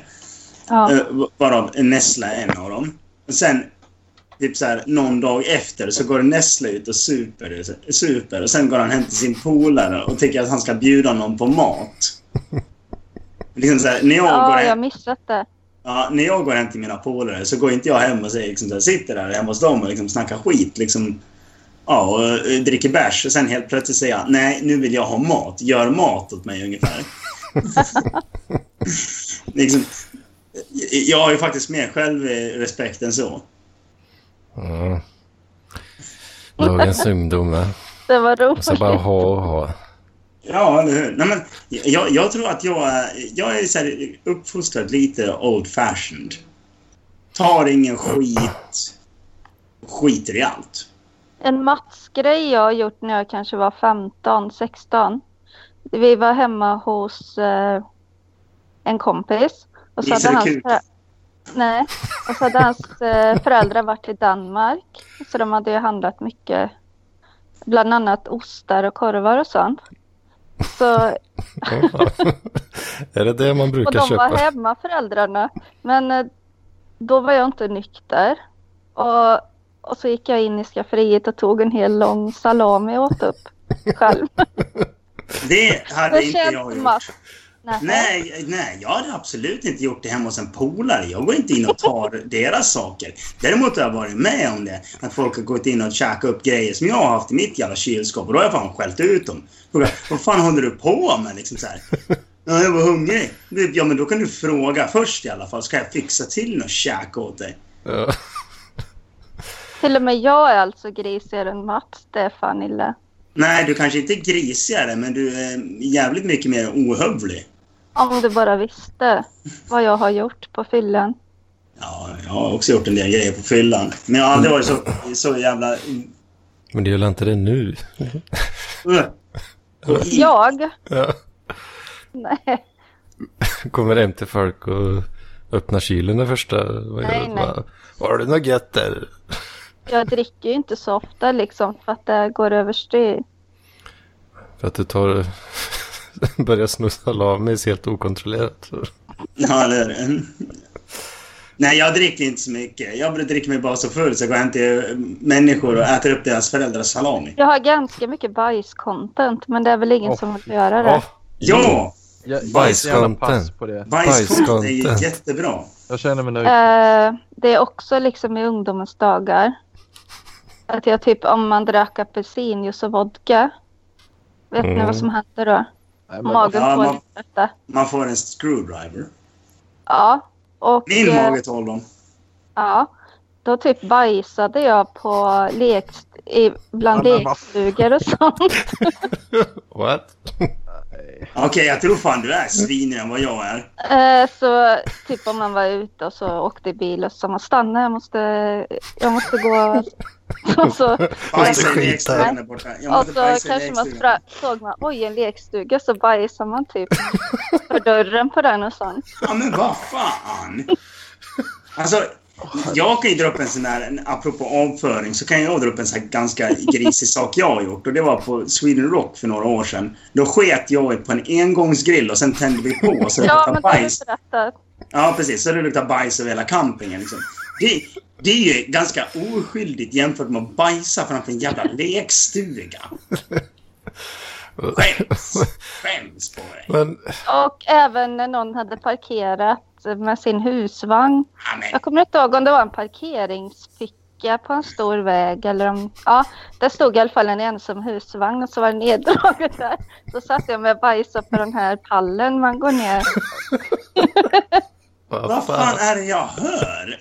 C: Ja,
D: Eh, Varav Nessla är en av dem. Och sen, typ så här, någon dag efter så går Nessla ut och super, super. Och sen går han hem till sin polare och tycker att han ska bjuda någon på mat. Liksom så här, när, jag går
C: ja jag har
D: hem,
C: missat det.
D: ja, när jag går hem till mina polare så går inte jag hem och säger, liksom, så här, sitter där hemma hos dem och liksom snackar skit. Liksom, ja, och, eh, dricker bärs. Och sen helt plötsligt säger jag, nej, nu vill jag ha mat. Gör mat åt mig ungefär. liksom, eh, jag har ju faktiskt mer självrespekt än så.
B: Ja. Dagens ungdom, va?
C: Det var
B: Och så
C: roligt.
B: bara ha och ha.
D: Ja, eller hur? Nej, men jag, jag tror att jag, är- jag är så här uppfostrad lite old fashioned. Tar ingen skit. Skiter i allt.
C: En matsgrej jag har gjort när jag kanske var 15, 16. Vi var hemma hos eh, en kompis. Och så hade
D: Gissade
C: hans,
D: kuk.
C: förä- Nej. Och så hade hans eh, föräldrar varit i Danmark. Så de hade ju handlat mycket. Bland annat ostar och korvar och sånt. Så
B: Ja. Är det det man
C: och
B: brukar
C: de var
B: köpa?
C: hemma föräldrarna. Men eh, då var jag inte nykter. Och, och så gick jag in i skafferiet och tog en hel lång salami och åt upp själv.
D: Det hade
C: Vad
D: inte
C: känns
D: jag
C: det,
D: gjort.
C: Mats? Nej.
D: Nej, nej, jag hade absolut inte gjort det hemma hos en polare. Jag går inte in och tar deras saker. Däremot har jag varit med om det. Att folk har gått in och käkat upp grejer som jag har haft i mitt jävla kylskåp. Och då har jag fan skällt ut dem. Frågat, Vad fan håller du på med? Liksom så här. Ja, jag var hungrig. Du, Ja, men då kan du fråga först i alla fall. Ska jag fixa till något käk åt dig?
B: Ja.
C: Till och med jag är alltså grisigare än Mats. Det är fan illa.
D: Nej, du kanske inte är grisigare, men du är jävligt mycket mer ohövlig.
C: Om du bara visste vad jag har gjort på fyllan.
D: Ja, jag har också gjort en del grejer på fyllan. Men jag har aldrig varit så, så jävla... uh.
B: Men det gör inte det nu?
D: Ugh.
C: Jag?
B: Ja.
C: Nej.
B: Kommer hem till folk och öppnar kylen det första. Vad gör
C: Nej,
B: du?
C: nej.
B: Bara, Har du något gött där?
C: Jag dricker ju inte så ofta liksom för att det går överstyr.
B: För att du tar... börjar sno salamis helt okontrollerat.
D: Ja, eller hur? Nej, jag dricker inte så mycket. Jag dricker mig bara så full så jag går hem till eh, människor och äter upp deras föräldrars salami.
C: Jag har ganska mycket bajscontent men det är väl ingen
F: Åh,
C: som vill göra det.
B: Ja,
D: Ja!
F: Jag, jag
B: Bajs-
F: är jävla pass på det.
D: Bajskonst är ju
B: Bajscontent.
D: jättebra.
F: Jag känner mig nöjd.
C: Eh, det är också liksom i ungdomens dagar. Att jag typ om man drack apelsinjuice och vodka. Vet ni
B: Mm.
C: vad som händer då?
F: Nej, men-
C: Magen
D: Ja,
C: får
D: man-
C: inte detta.
D: Man får en screwdriver.
C: Ja. Och,
D: Min
C: eh,
D: mage tål dem.
C: Ja, då typ bajsade jag på lek, i, bland
A: Ja, men vad-
C: lekstugor och sånt.
B: What?
D: Okej, jag tror fan du är svinigare än vad jag är.
C: Eh, så typ om man var ute och så åkte i bil och så man stanna, jag måste, jag måste gå. Och så,
B: Måste
D: Bajsa i
B: skita.
D: lekstugan där borta. Jag
C: och
D: måste
C: så
D: bajsa i
C: Alltså, kanske man
D: lekstugan.
C: spra- såg man, oj en lekstuga, så bajsade man typ för dörren på den och sånt.
D: Ja, men vad fan! Alltså, jag kan ju dra upp en sån här, apropå avföring, så kan jag dra upp en sån här ganska grisig sak jag har gjort. Och det var på Sweden Rock för några år sedan. Då sket jag på en engångsgrill och sen tände vi på så det
C: Ja,
D: luktade
C: men det har du
D: bajs.
C: berättat.
D: Ja, precis. Så det luktade bajs över hela campingen. Liksom. Det, det är ju ganska oskyldigt jämfört med att bajsa framför en jävla lekstuga. Skäms! Skäms på dig!
B: Men
C: Och även när någon hade parkerat med sin husvagn
D: Ja, men,
C: Jag kommer inte ihåg om det var en parkeringsficka på en stor väg eller om... Ja, där stod i alla fall en ensam husvagn och så var det neddraget där. Så satt jag med och bajsade på den här pallen man går ner.
B: vad
D: vad fan
B: fan?
D: är det jag hör?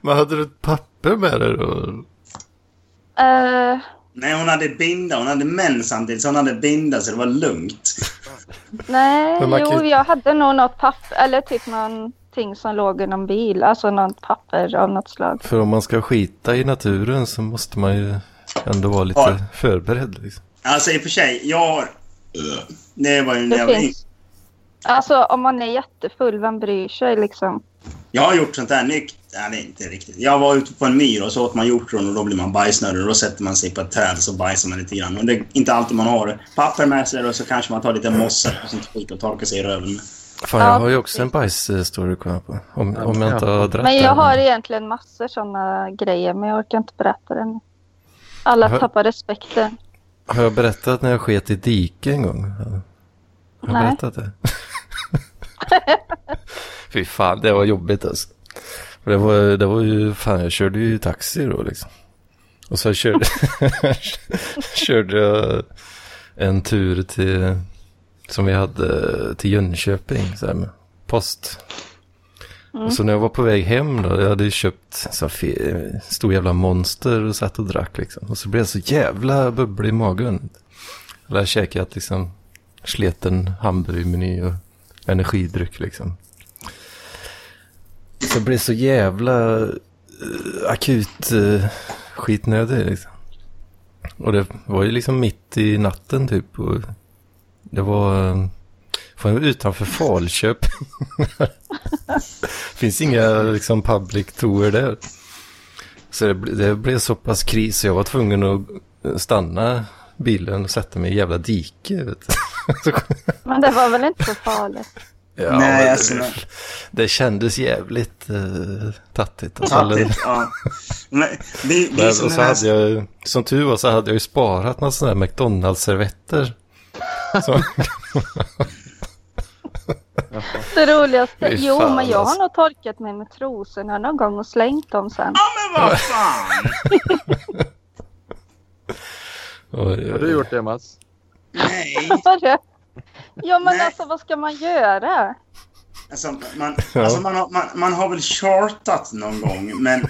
B: Men hade du ett papper med dig då?
C: Eh,
D: Nej, hon hade binda. Hon hade män samtidigt, så hon hade binda så det var lugnt.
C: nej,
B: Men man kan
C: jo,
B: ju-
C: jag hade nog något papper, eller typ någonting som låg i någon bil, alltså något papper av något slag.
B: För om man ska skita i naturen så måste man ju ändå vara lite
D: Ja.
B: förberedd. Liksom.
D: Alltså i och för sig, jag har... Det var ju en
C: Det
D: jävla...
C: finns. Alltså om man är jättefull, vem bryr sig liksom?
D: Jag har gjort sånt där nykt... Nej, det är inte riktigt. Jag var ute på en myr och så åt man hjortron och då blir man bajsnödig. Och då sätter man sig på ett träd och så bajsar man lite grann. Och det är inte alltid man har papper med sig och så kanske man tar lite mossa och sånt skit och torkar sig i röven med.
B: Fan,
C: Ja,
B: jag har ju också en bajsstory kvar på. Om, om jag inte har dratt
C: Men jag
B: den.
C: har egentligen massor sådana grejer, men jag orkar inte berätta det nu. Alla
B: Hör-
C: tappar respekten.
B: Har jag berättat när jag sket i dike en gång? Har jag
C: Nej.
B: berättat det? Fy fan, det var jobbigt alltså. För Det var, det var ju, fan jag körde ju taxi då liksom. Och så körde, körde jag en tur till, som vi hade till Jönköping, så här med post. Och så när jag var på väg hem då, jag hade ju köpt så här fe- stor jävla monster och satt och drack liksom. Och så blev jag så jävla bubblig i magen. Jag hade käkat liksom sleten hamburgermeny och energidryck liksom. Så jag blev så jävla eh, akut eh, skitnödig liksom. Och det var ju liksom mitt i natten typ. Och det var, eh, var jag utanför Falköping. finns inga liksom public tour där. Så det, ble- det blev så pass kris så jag var tvungen att eh, stanna bilen och sätta mig i jävla dike. Vet du.
C: Men det var väl inte så farligt?
B: Ja,
D: Nej,
B: men
D: alltså,
B: det,
D: nej.
B: det kändes jävligt uh, tattigt. Alltså, eller-
D: Fattigt, ja. Men det, det är
B: Men,
D: som
B: och
D: den
B: så
D: här...
B: hade jag, som tur var så hade jag ju sparat några sådana här McDonalds-servetter. Så,
C: Det roligaste.
B: Fy fan,
C: Jo, men jag har
B: alltså.
C: nog torkat mig med trosorna någon gång och slängt dem sen.
D: Men vad fan!
B: oj,
F: Har du
B: oj.
F: gjort det Mats?
D: Nej.
C: Vadå? Ja, men
D: Nej.
C: alltså vad ska man göra?
D: Alltså, man,
B: Ja.
D: alltså man, har, man, man har väl chartat någon gång, men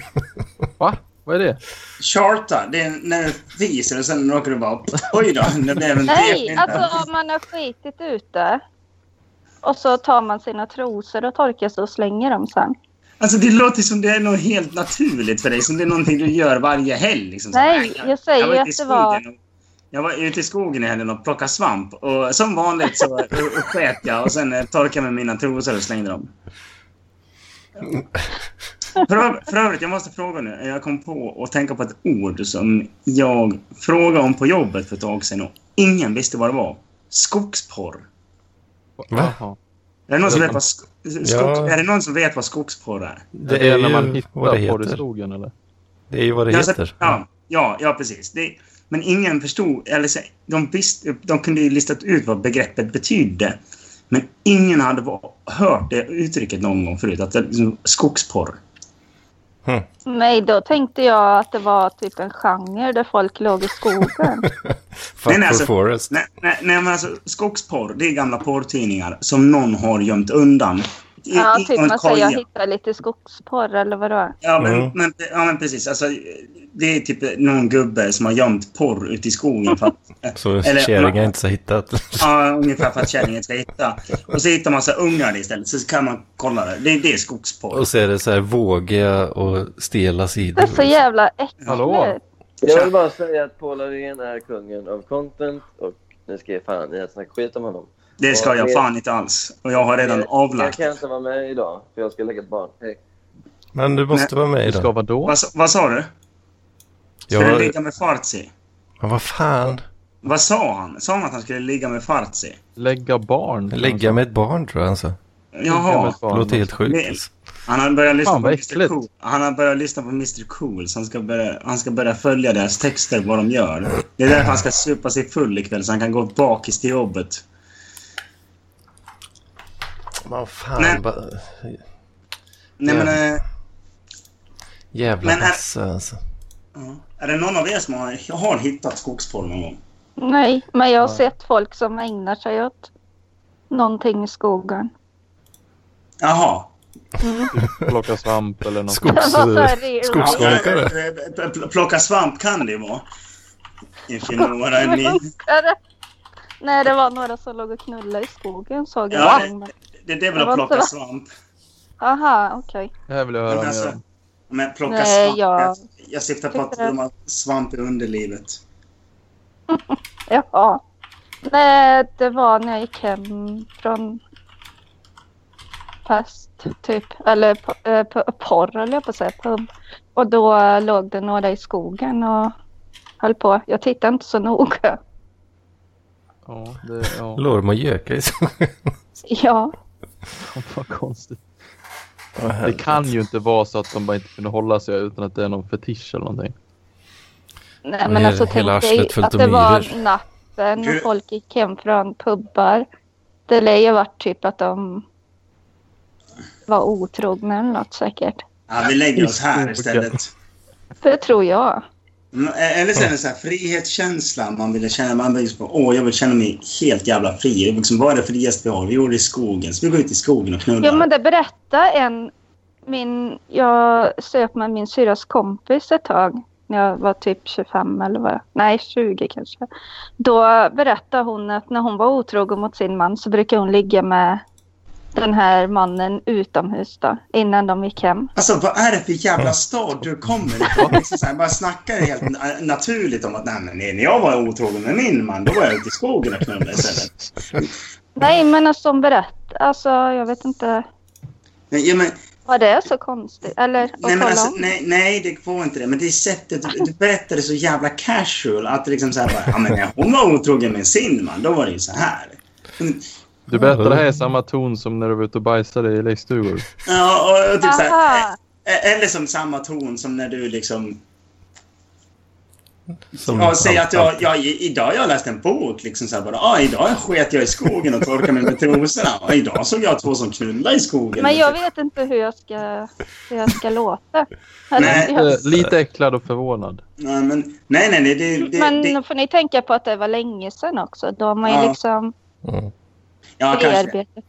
F: Va? Vad är det?
D: charta, det är när du fiser och sen råkar du bara oj då, det blev en
C: Nej,
D: del.
C: alltså om man har skitit ute och så tar man sina trosor och torkar sig och slänger dem sen.
D: Alltså det låter som det är något helt naturligt för dig, som det är någonting du gör varje helg. Liksom. Så,
C: Nej, jag säger
D: var ute
C: att
D: i
C: det var-
D: skogen och- Jag var ute i skogen i helgen och plockade svamp och som vanligt så och- och sket jag och sen eh, torkade jag med mina trosor och slängde dem. För, ö- för övrigt, jag måste fråga nu. Jag kom på och tänka på ett ord som jag frågade om på jobbet för ett tag sedan och ingen visste vad det var. Skogsporr.
B: Va?
F: Jaha.
D: Är det någon som vet vad, sk- skog-
B: Ja.
D: är det någon som vet vad skogsporr är?
F: Det är när man
B: vad det
F: hittar porr i
B: heter.
F: skogen eller?
B: Det är ju vad det
D: Ja, så-
B: heter.
D: Alltså, Ja, ja, ja precis. Det, men ingen förstod, eller så, de, visst, de kunde ju listat ut vad begreppet betydde. Men ingen hade va- hört det uttrycket någon gång förut, att det är liksom skogsporr.
C: Nej, då tänkte jag att det var typ en genre där folk låg i skogen.
B: Fuck
D: nej,
B: for
D: alltså-
B: forest.
D: Nej, nej, nej men alltså skogsporr, det är gamla porrtidningar som någon har gömt undan. I,
C: Ja,
D: i-
C: typ
D: någon
C: man säger jag
D: koja.
C: hittar lite skogsporr eller vadå?
D: Ja, men,
B: Mm.
D: men, ja, men precis. Alltså, det är typ någon gubbe som har gömt porr ute i skogen för att
B: Så
D: Eller-
B: kärringar inte så hittat.
D: Ja, ungefär för att kärringen ska hitta. Och så hittar man så här ungar istället, så kan man kolla det. Det, det är skogsporr.
B: Och så är det så här vågiga och stela sidor.
C: Det är så
D: Mm.
C: jävla
F: Hallå?
C: äckligt.
G: Jag vill bara säga att Paul Arén är kungen av content och ni ska ge fan i att snacka skit om honom.
D: Det ska jag fan inte alls. Och jag har redan
G: Jag- Jag
D: avlagt.
G: kan inte vara med idag för jag ska lägga ett barn. Hej.
B: Men du måste vara med i
F: Du ska
B: den.
F: vara då?
D: Vad, sa- vad sa du? Skulle
B: Jag-
D: ligga med Fartsi?
B: Men vad fan?
D: Vad sa han? Sa han att han skulle ligga med Fartsi?
F: Lägga barn?
B: Lägga med ett barn tror jag han sa.
F: Lägga med
D: Jaha.
F: ett
B: Det
F: alltså- barn.
B: låter helt sjukt.
D: Nej.
B: alltså.
D: Han har börjat lyssna
F: Fan,
D: på
F: vad
D: Mr
F: äckligt.
D: Cool. Han har börjat lyssna på Mr Cool, så han ska börja, han ska börja följa deras texter, vad de gör. Det är därför han ska supa sig full ikväll, så han kan gå bakis till jobbet.
B: Men fan.
D: Nej.
B: Ba...
D: Nej, men...
B: Ja.
D: eh,
B: Jävla
D: Men, äh,
B: massa alltså.
D: ja. Är det någon av er som har, har hittat skogsporr någon gång?
C: Nej, men jag har sett folk som ägnar sig åt någonting i skogen.
D: Jaha.
F: Plocka svamp eller något.
C: Det var
B: Skogs...
C: så här real-
B: Skogsgångare.
D: Pl- Plocka svamp kan det ju vara. If you know what I mean.
C: Skogsgångare. Nej, det var några som låg och knullade i skogen såg jag.
D: Ja.
C: en gång, men-
D: Det, det är väl
C: Det var
D: att
C: inte
D: plocka
C: va?
D: svamp.
C: Aha, okej.
F: Det här vill jag
D: Men,
F: höra mer
D: alltså,
F: om.
D: men plocka
C: Nej,
D: svamp.
C: jag-
D: Jag, jag syftar på att
C: tyckte det.
D: de har svamp i underlivet.
C: Jaha. Nej, det var när jag gick hem från fest, typ. Eller po- eh, po- porr, höll jag på att säga. Pub. Och då eh, låg det några i skogen och höll på. Jag tittade inte så noga.
F: Ja, det, ja.
B: Lorm och göka i skogen.
C: Ja,
F: Vad konstigt. Det kan ju inte vara så att de bara inte kunde hålla sig utan att det är någon fetisch eller någonting.
C: nej
B: Men
C: men alltså
B: hela
C: tänk dig
B: arslet fullt
C: att
B: av
C: det var
B: myror.
C: natten och
D: Du-
C: folk gick hem från pubbar. Det lär ju varit typ att de var otrogna eller något säkert.
D: Ja, vi lägger oss här
F: Skogen.
D: istället.
C: Det tror jag.
D: Mm, Eller så är det så här frihetskänsla man ville känna. Man vill på, åh, jag vill känna mig helt jävla fri. Jag vill Liksom, vad är det friaste vi har? Vi gjorde det i skogen. Så vi går ut i skogen och knullar.
C: Ja men det berättade en, min, jag söp med min syrras kompis ett tag. När jag var typ 25 eller vad Nej 20 kanske. Då berättade hon att när hon var otrogen mot sin man så brukade hon ligga med den här mannen utomhus då. Innan de gick hem.
D: Alltså vad är det för jävla stad du kommer ifrån? Liksom så här, bara snackar helt na- naturligt om att nej, men när jag var otrogen med min man, då var jag ute i skogen och knullade istället.
C: Nej men alltså hon berättade, alltså jag vet inte.
D: Nej, ja, men,
C: Var det så konstigt? Eller att
D: nej, men
C: kolla
D: alltså,
C: om?
D: nej, nej, det var inte det. Men det är sättet du, du berättade så jävla casual att det liksom så här bara, ja men när hon var otrogen med sin man, då var det ju så här.
F: Du berättar det här i samma ton som när du var ute och bajsade i lekstugor.
D: Ja, och, och typ så här,
C: Aha.
D: eh, eller som samma ton som när du liksom
B: Som
D: Ja, säg att jag, jag, idag har jag läst en bok. Liksom så här bara, ah, idag sket jag i skogen och torkade mig med trosorna. Och idag såg jag två som knullade i skogen.
C: Men jag vet inte hur jag ska, hur jag ska låta. Eller,
D: Nej,
C: jag,
F: Eh, Lite äcklad och förvånad.
D: Nej, men, nej, nej, nej. Det, det,
C: men
D: det,
C: får ni tänka på att det var länge sedan också. Då har man ju
D: Ja,
C: liksom
B: Mm.
D: ja, kanske,
C: bearbetat.
B: Det,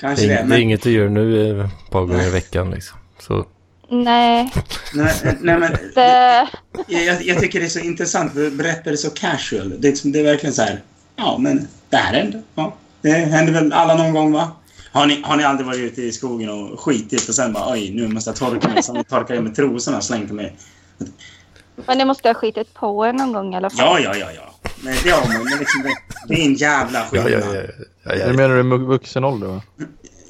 D: kanske
B: är,
D: det.
B: inget- det är
D: Men,
B: inget du gör nu eh, ett par gånger i veckan liksom. Så,
C: Nej,
D: nej, nej, men,
C: det,
D: jag, jag- jag tycker det är så intressant. Du berättar det så casual. Det, är liksom- det är verkligen så här, ja, men det här händer. Ja, det händer väl alla någon gång, va? Har ni, har ni aldrig varit ute i skogen och skitit och sen bara oj, nu måste jag torka mig. Så torkar jag med trosorna och slängde mig.
C: men det måste ha skitit på er någon gång i alla fall.
D: Ja, ja, ja, ja. Men, ja, men det är liksom, det, det är en jävla
B: ja,
D: skillnad.
B: ja, ja, ja,
F: Du
B: ja.
F: menar du mu- vuxen ålder va?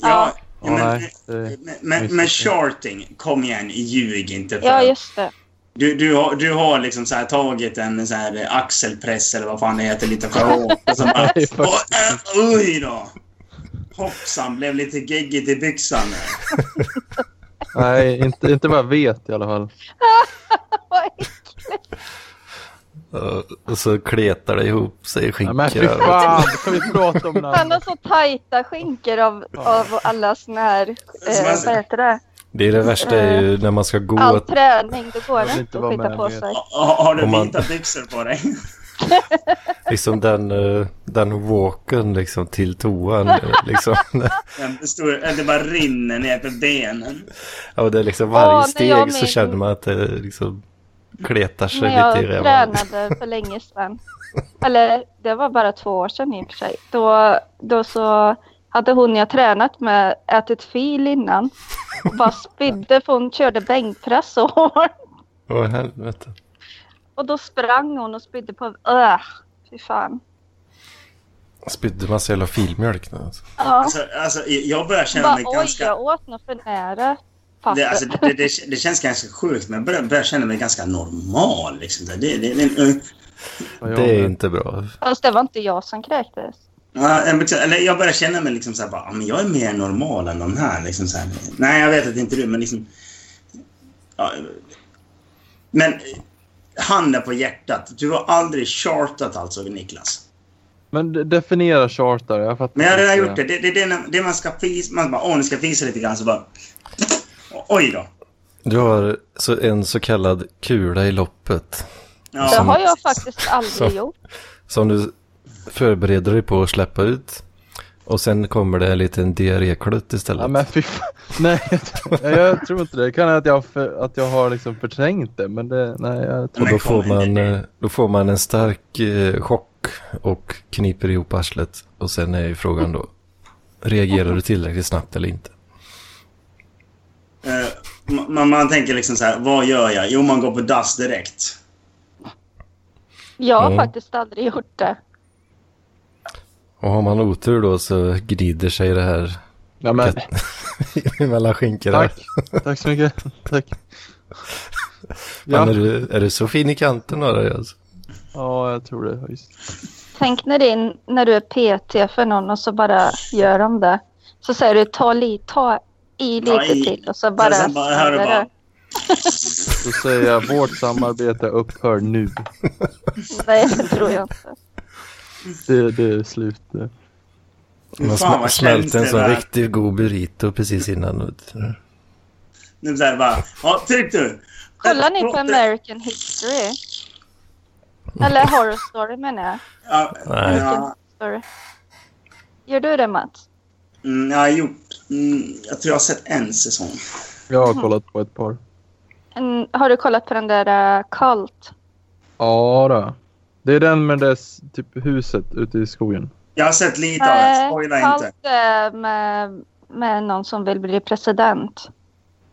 D: Ja,
F: Ja,
D: men,
F: nej, det-
D: men, men, men shorting, kom igen, ljug inte. För.
C: Ja, just det.
D: Du, du, har, du har liksom så här tagit en så här axelpress eller vad fan det heter, lite för hårt. Och så bara,
F: Nej, fuck.
D: "Åh, äh, oj då! Hoppsan, blev lite geggigt i byxan. där."
F: Nej, inte, inte vad jag vet i alla fall.
B: Ja, Och så kletar det ihop sig i
F: Nej, men fy
B: skinkorna.
F: fan, kan vi prata om det
C: Han har
F: här?
C: så tajta skinkor av, av alla såna här, eh, vad heter det?
B: Det är det värsta är ju när man ska gå.
C: All träning, då går
F: Jag
C: det
F: vill
C: inte
F: inte
C: att
F: vara
C: skita
F: med
C: på
F: mer.
C: sig.
D: Har, har du
B: Om man-
D: vita byxor på dig?
B: Liksom den, eh, den walken liksom till toan. eh, Liksom.
D: Den stor, det bara rinner ner på benen.
B: Ja, och det är liksom
C: Åh,
B: varje
C: när jag
B: steg så
C: min-
B: känner man att det liksom kletar sig
C: När jag
B: lite i röven.
C: tränade för länge sedan. Eller det var bara två år sedan i och för sig. Då, då så hade hon jag tränat med ätit fil innan. Och bara spydde för hon körde bänkpress så hårt.
B: Åh helvete.
C: Och då sprang hon och spydde på... Öh, fy fan.
B: Spydde massa jävla filmjölk nu alltså.
C: Ja.
D: Alltså, alltså, jag börjar känna
C: Bara,
D: mig
C: oj,
D: ganska...
C: jag åt något för nära.
D: Det, alltså,
C: passet.
D: det, det, det känns ganska sjukt, men jag börjar, börjar känna mig ganska normal. Liksom. Det, det, det, det,
F: Vad jag
B: Det är
F: med.
B: inte bra.
C: Fast det var inte jag som kräktes.
D: ja, jag liksom- eller jag börjar känna mig liksom så här, bara, "Ah, men jag är mer normal än de här. Liksom så här. Nej, jag vet att det inte är du, men liksom... Ja, men eh, handen på hjärtat, du har aldrig chartat alltså, Niklas.
F: Men de- definiera charter, jag fattar
D: Men jag har redan
F: inte.
D: gjort det. Det, det, det, är när- det man ska fisa, man bara, åh, nu ska jag fisa lite grann, så bara... Oj då.
B: Du har så en så kallad kula i loppet.
D: Ja.
C: Det
B: Som-
C: har jag faktiskt aldrig
B: som-
C: gjort.
B: Som du förbereder dig på att släppa ut. Och sen kommer det en liten diarréklutt istället.
F: Ja, men fy fan. Nej, jag- jag tror inte det. Det kan vara att jag, har för, att jag har liksom förträngt det, men det, nej, jag tror
B: och
D: Men
B: då
D: kom
B: får, man,
D: igen.
B: eh, då får man en stark eh, chock och kniper ihop arslet. Och sen är ju frågan då, reagerar du tillräckligt snabbt eller inte?
D: Eh, man, man tänker liksom så här, vad gör jag? Jo, man går på dass direkt.
C: Jag har
B: Mm.
C: faktiskt aldrig gjort det.
B: Och har man otur då så gnider sig det här
F: Ja, men,
B: mellan skinkorna.
F: tack. Tack så mycket. Tack.
B: Ja. Är,
F: Ja,
B: du, är du så fin i kanten då? då, Alltså?
F: ja jag tror det. Just.
C: Tänk när, din, när du är PT för någon och så bara gör de det. Så säger du ta, li, ta i lite
D: Ta i.
C: till och så bara...
D: sen bara hör du
C: smäller
D: bara-
F: Då säger jag vårt samarbete upphör nu.
C: Nej, det tror jag inte.
F: Det, det är slut. nu.
D: Fy
B: Man
D: fan, vad
B: smäl- smälte en
D: känns det
B: sån
D: där?
B: riktigt god burrito precis innan. vet du.
D: Nu så här bara, ja, tryck du.
C: Kollar ni på
D: Prata-
C: American History? Eller Horror Story menar jag.
D: Ja,
B: Nej.
D: ja,
C: Story. Gör du det Mats?
D: mm, ja, jo, mm, jag tror jag har sett en säsong.
F: Jag har kollat på ett par.
C: En, har du kollat på den där uh, Cult?
F: Ja då. Det är den med dess typ huset ute i skogen.
D: Jag har sett lite av det, spoila inte.
C: Cult eh, med, med någon som vill bli president.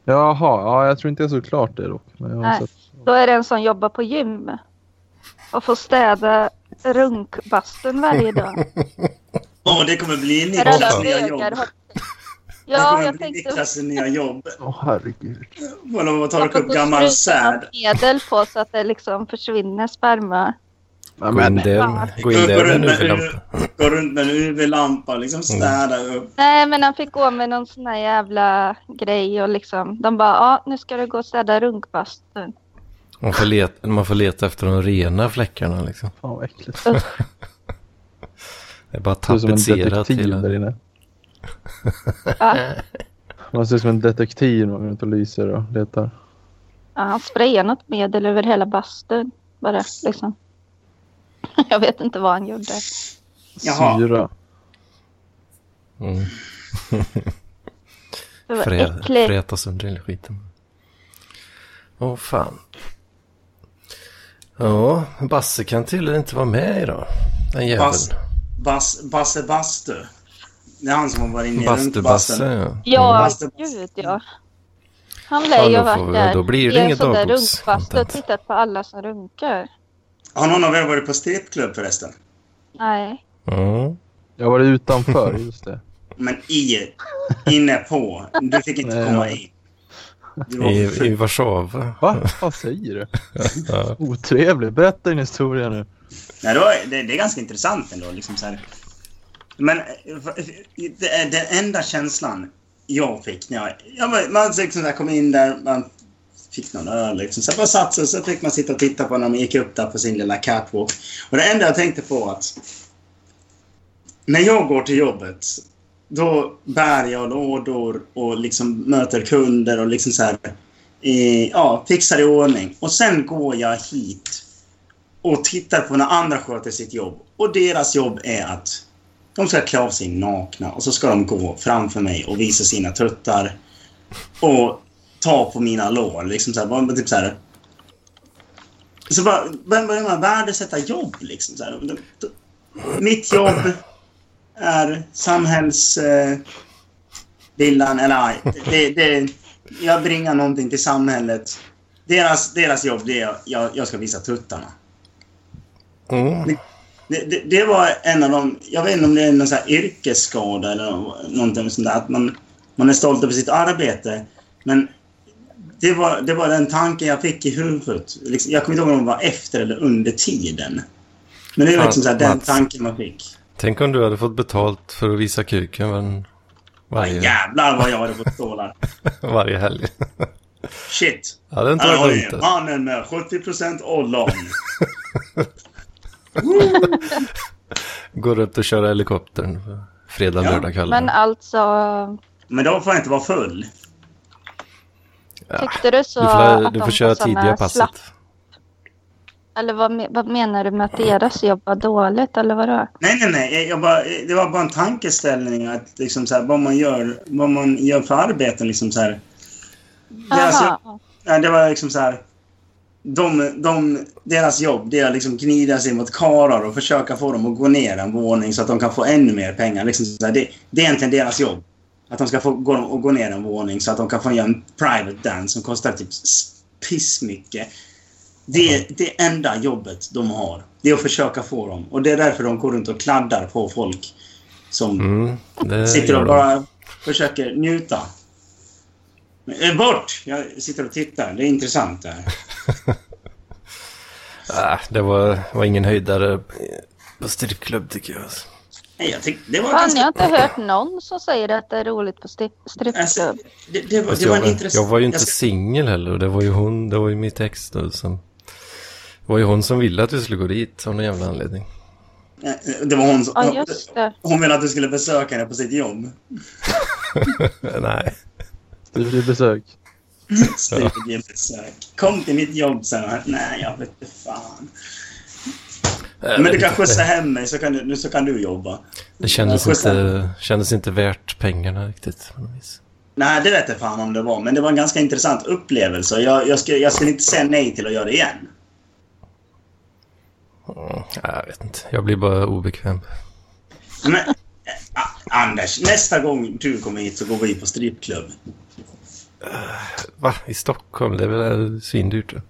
F: Jaha, ja, jag tror inte jag såg klart det dock. Men jag har
C: Nej.
F: sett.
C: Då är det en som jobbar på gym och får städa runkbastun varje dag.
D: Åh, det kommer bli Niklas
C: Rädda
D: nya
C: bögar.
D: jobb.
C: har-
D: Det
C: Ja,
D: kommer
C: jag
D: bli
C: tänkte...
D: Niklas nya jobb.
F: Åh herregud.
D: Håller på att
C: Jag
D: torka upp gammal säd.
C: medel på så att det liksom försvinner sperma.
F: Ja,
B: Gå in
F: men,
B: där, gå in
D: Går
B: där med
D: runt
B: en
D: med
B: UV-lampa. Mm.
D: UV går runt med en UV-lampa, liksom städa upp.
C: Nej, men han fick gå med någon sån här jävla grej och liksom... De bara, ja, nu ska du gå och städa runkbastun.
B: Man får, leta, man får leta efter de rena fläckarna liksom.
F: Fan vad äckligt.
B: Det är bara
F: Du är som en
B: tapetserat
F: detektiv
B: hela.
F: där inne. Man ser ut som en detektiv när man går runt och lyser och letar.
C: Ja, han sprayade något medel över hela bastun. Bara liksom. Jag vet inte vad han gjorde.
D: Jaha.
F: Syra.
B: Mm.
C: Det var
B: Frä,
C: äckligt.
B: fräta sönder hela skiten. Åh fan. Ja, Basse kan tydligen inte vara med idag. Den jäveln.
D: Bas- Bas, Basse Bastu. Det är han som har varit inne i
B: Bastu-Basse
D: runkbassen.
B: ja.
C: Ja,
D: Mm.
C: gud ja. Han lär ju
B: Ja,
C: ha
B: då får
C: varit
B: vi-
C: där.
B: då blir det
C: i en
B: inget
C: sån där
B: dagbokscontent.
C: runkbastu och tittat på alla som runkar.
D: Har någon av er varit på strippklubb förresten?
C: Nej.
B: Mm.
F: Jag var utanför, just det.
D: Men i, inne på. Du fick inte
F: Nej,
D: komma
F: ja.
D: in. Du var
B: I,
D: för
B: I
D: ful.
B: Warszawa.
F: Va? Vad säger du?
B: Ja.
F: Otrevlig. Berätta din historia nu.
D: Nej, det, var, det, det är ganska intressant ändå. Liksom så här. Men eh, va- det är den enda känslan jag fick när jag... jag var, man liksom så här kom in där, man fick någon öl. Liksom. Sen bara satt sig och så fick man sitta och titta på när man gick upp där på sin lilla catwalk. Och det enda jag tänkte på var att när jag går till jobbet då bär jag lådor och liksom möter kunder och liksom så här, eh, ja, fixar i ordning. Och sen går jag hit och tittar på när andra sköter sitt jobb. Och deras jobb är att de ska klä av sig nakna och så ska de gå framför mig och visa sina tuttar och ta på mina lår. Liksom så här, bara, typ så här. Så bara börjar börjar man värdesätta jobb liksom. Så här. De- de- Mitt jobb är samhällsvillan, eh, villan, eller nej, det, det, jag bringar någonting till samhället. Deras, deras jobb, det är jag, jag ska visa tuttarna.
B: Mm.
D: Det, det, det var en av de... Jag vet inte om det är någon så här yrkesskada eller nå- någonting sånt där. Att man, man är stolt över sitt arbete. Men det var, det var den tanken jag fick i huvudet. Liksom, jag kommer inte ihåg om det var efter eller under tiden. Men det var
B: Fan,
D: liksom så här, den
B: Mats.
D: tanken man fick.
B: Tänk om du hade fått betalt för att visa kuken var-
D: Ja,
B: varje,
D: jävlar vad jag hade fått stålar.
B: varje helg.
D: Shit.
B: Ja, det inte
D: Här har
B: varit
D: ni
B: dumt. det.
D: mannen med 70 ollon.
B: Går upp och kör helikoptern på fredag,
D: Ja.
B: lördag kväll.
C: Men alltså,
D: Men då får jag inte vara full.
C: tyckte du så
B: du får,
C: att
B: du
C: de
B: får köra
C: sossarna
B: tidiga passet.
C: slapp? Eller vad, me- vad menar du med att deras jobb var dåligt eller vadå?
D: Nej, nej, nej. Jag- Jag bara, det var bara en tankeställning att liksom så här, vad, man gör, vad man gör för arbeten. Liksom så här. alltså- Deras, jobb,
C: Jaha.
D: nej, det var liksom så här... De, de, deras jobb det är att liksom gnida sig mot karar och försöka få dem att gå ner en våning så att de kan få ännu mer pengar. Liksom så här, det, det är egentligen deras jobb. Att de ska få gå, och gå ner en våning så att de kan få göra en private dance som kostar typ s- pissmycket. Det, det enda jobbet de har, det är att försöka få dem. Och det är därför de går runt och kladdar på folk som
B: Mm, det
D: sitter
B: gör
D: och
B: de.
D: bara försöker njuta. Men, eh, Bort! Jag sitter och tittar. Det är intressant det här.
B: Ah, det var, var ingen höjdare på strippklubb tycker jag. alltså.
D: Nej, jag tyck, det var
C: Fan,
D: ganska...
C: jag har inte hört någon som säger att det är roligt på stripp-
D: Alltså,
C: strippklubb.
D: det, det var,
B: Fast
D: det var en
B: jag,
D: intressant...
B: jag var ju inte
D: ska-
B: singel heller och det var ju hon, det var ju mitt ex då som... Det var ju hon som ville att vi skulle gå dit av någon jävla anledning.
D: eh, Det var hon som...
C: Ja, just det.
D: Hon ville att du skulle besöka henne på sitt jobb.
B: Nej.
F: Det blir besök.
D: Studiebesök. Kom till mitt jobb, sen. Nej, jag vet inte fan. Men du kan skjutsa hem mig så kan du, nu så kan du jobba.
B: Det kändes
D: Ja, skjutsa.
B: inte, kändes inte värt pengarna riktigt. på något vis.
D: Nej, det vet jag fan om det var. Men det var en ganska intressant upplevelse. Jag, jag, skulle, jag skulle inte säga nej till att göra det igen.
B: Mm, jag vet inte, jag blir bara obekväm.
D: Men, eh, A- Anders, nästa gång du kommer hit så går vi på strippklubb.
B: Va? I Stockholm? Det är väl eh, svindyrt? då?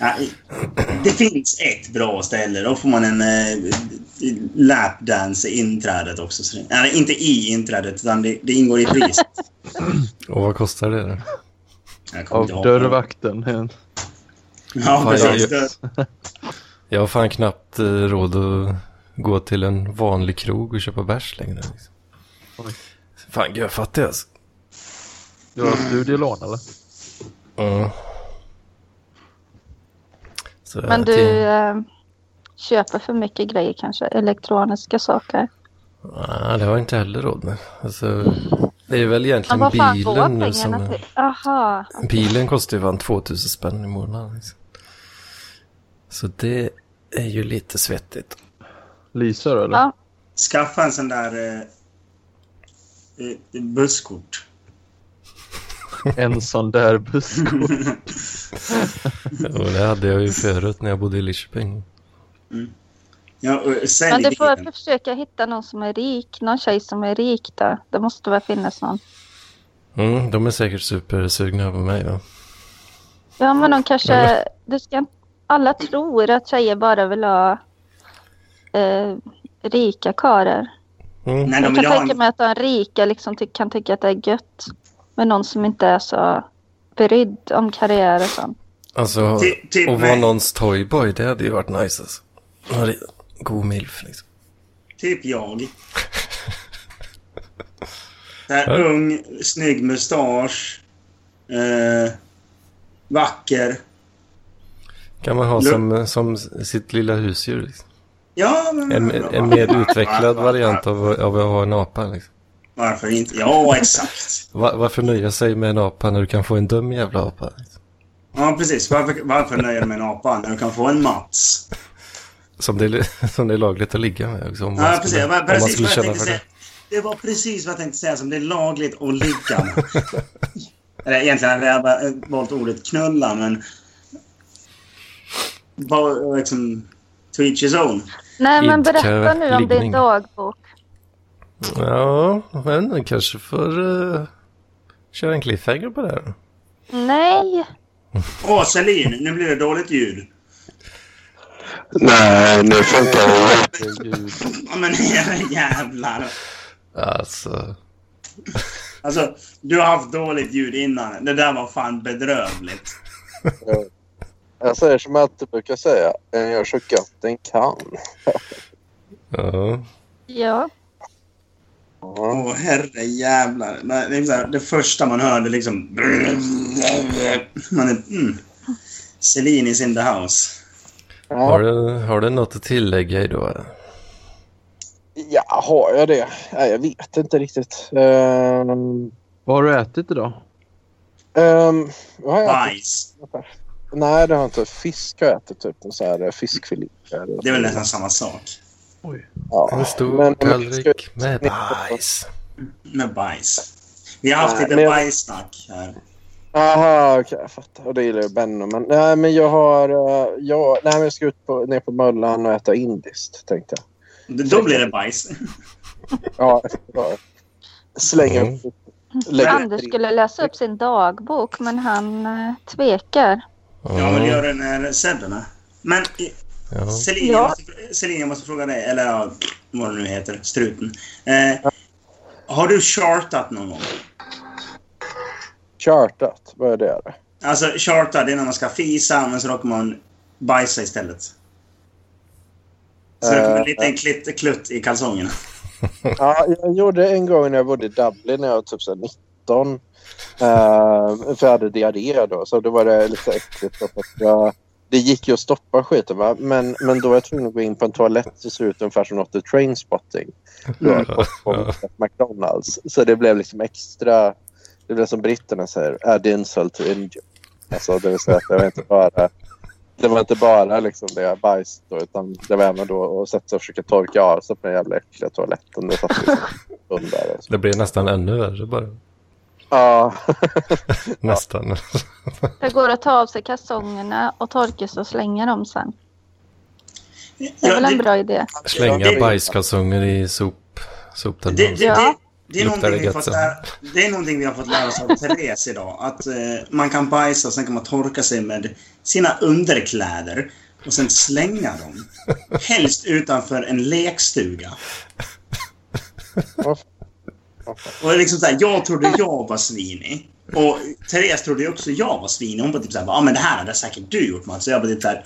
D: Nej, Det finns ett bra ställe. Då får man en eh, lapdance i inträdet också. Så det- Nej, inte i inträdet, utan det, det ingår i priset.
B: Och vad kostar det? då?
D: Jag kommer
F: Av
D: inte ihåg.
F: dörrvakten.
D: Ja,
B: Fan, jag-
D: precis. Dörr-
B: Jag har fan knappt eh, råd att gå till en vanlig krog och köpa bärs längre. Liksom.
F: Oj.
B: Fan, gud, jag fattig alltså.
F: Du har studielån eller?
B: Mm. Så
C: Men
B: jag
C: du
B: tänk-
C: eh, köper för mycket grejer kanske? Elektroniska saker?
B: Nej, det har jag inte heller råd med. Alltså, det är väl
C: Men
B: egentligen
C: vad fan går
B: bilen nu som...
C: pengarna till? Aha.
B: Bilen kostar ju fan 2000 spänn i månaden. Liksom. Så det är ju lite svettigt.
F: Leasar du, eller?
C: Ja.
D: Skaffa en sån där eh, eh, busskort.
F: En sån där busskort.
B: Och det hade jag ju förut när jag bodde i Lidköping.
D: Ja, och sälj
C: Men du får
D: bilen.
C: väl försöka hitta någon som är rik. Någon tjej som är rik där. Det måste väl finnas någon.
B: Mm, de är säkert supersugna på mig va?
C: Ja, men de kanske... Det ska, alla tror att tjejer bara vill ha eh, rika karlar.
B: Mm.
D: Nej, de
C: Jag
D: vill
C: kan
D: ha
C: tänka
D: en...
C: mig att de rika liksom ty- kan tycka att det är gött. Men någon som inte är så brydd om karriär och sånt.
B: Alltså,
D: Ty- typ
B: att vara
D: mig.
B: någons toyboy, det hade ju varit nice alltså. Ja, det- God milf liksom.
D: Typ jag. Så här, ung, snygg mustasch. Eh, vacker.
B: Kan man ha
D: Nu-
B: som, som sitt lilla husdjur. Liksom.
D: Ja, men...
B: En, en mer utvecklad variant av, av att ha en apa. Liksom.
D: Varför inte? Ja, exakt.
B: Va, varför nöja sig med en apa när du kan få en dum jävla apa? Liksom?
D: Ja, precis. Varför, varför nöjer du dig med en apa när du kan få en Mats?
B: Som, det, är- som det är lagligt att ligga med. Liksom, om man
D: Ja, precis.
B: skulle-
D: Var,
B: om man
D: precis
B: skulle
D: vad jag
B: känna
D: tänkte
B: för
D: säga. Det var precis vad jag tänkte säga som det är lagligt att ligga med. Eller egentligen hade jag bara eh, valt ordet knulla, men... Bara liksom... To each his own.
C: Nej, men
B: Idkar
C: berätta nu om din
B: liggning.
C: dagbok.
B: Ja, men den kanske får eh, köra en cliffhanger på det här.
C: Nej!
D: Åh, Selin! Nu blir det dåligt ljud.
H: Nej, nu funkar det.
F: Herregud.
D: Ja, men era jävlar.
B: Alltså,
D: Alltså, du har haft dåligt ljud innan. Det där var fan bedrövligt.
H: Jag säger som jag alltid brukar säga. Den gör så gott den kan.
B: ja.
C: Ja.
H: Ja.
D: Åh, herre jävlar. Det, är så här, det första man hör det är liksom... Man är... Mm. Celine is in the house.
B: Har,
H: Ja,
B: du, har du något att tillägga idag?
H: ja, har jag det? Nej, jag vet inte riktigt. Um,
F: Vad har du ätit idag?
H: um, vad har jag ätit?
D: Bajs.
H: Nej, det har jag inte. Fisk har jag ätit. Typ en sån här eh, fiskfilé.
D: Det är väl nästan samma sak.
H: Ja,
B: En stor
H: men-
B: tallrik med bajs.
D: Med bajs. Vi har haft
H: Nej,
D: lite
H: men jag-
D: bajssnack här.
H: Aha, okej, jag fattar. Och det gillar ju Benno. Men, nej, men jag har... eh, Jag, nej, men jag ska ut på, ner på Möllan och äta indiskt, tänkte jag.
D: Då blir det bajs.
H: Ja, ja. Slänga
B: Mm.
H: upp lägga upp
C: Anders
H: tre.
C: skulle läsa upp sin dagbok, men han eh, tvekar.
D: Ja, men
B: Mm,
D: gör det när Sebben är. Men i-
B: ja.
D: Celine, jag
C: Ja.
D: måste, Celine, jag måste fråga dig, eller ja, vad det nu heter, struten. Eh, har du chartat någon gång?
H: Chartat, vad är det?
D: Alltså charta, det är när man ska fisa, men så råkar man bajsa istället. Så det kommer en
C: Eh.
D: liten klitt, klutt i kalsongerna.
H: Ja, jag gjorde en gång när jag bodde i Dublin när jag var typ så här 19. Eh, för jag hade diarré då, så då var det lite äckligt. För att jag, det gick ju att stoppa skiten, va? Men, men då var jag tvungen att gå in på en toalett som såg ut ungefär som något i Trainspotting. Då jag kom på McDonalds. Så det blev liksom extra... Det blev som britterna säger, add insult to injury. Alltså, det vill säga att det var inte bara... Det var inte bara liksom det bajs då, utan det var även då att sätta sig och försöka torka av sig på den jävla äckliga toaletten. Det satt liksom under.
B: Det blir nästan ännu värre bara.
H: Ja,
B: Nästan.
C: Det går att ta av sig kalsongerna och torka sig och slänga dem sen. Det är
D: Ja,
C: väl en bra idé.
B: Slänga bajskalsonger i sop,
D: det, det,
B: soptunnan.
D: det, det,
C: Ja.
D: det, är
B: Luktar det
D: någonting vi har
B: gött
D: fått
B: sen?
D: lära, det är någonting vi har fått lära oss av Therese idag. Att eh, man kan bajsa och sen kan man torka sig med sina underkläder och sen slänga dem. Helst utanför en lekstuga. Och det är liksom så här, jag trodde jag var svinig. Och Therese trodde ju också jag var svinig. Hon bara typ så här, ja ah, men det här hade säkert du gjort Mats. Så jag bara typ så här,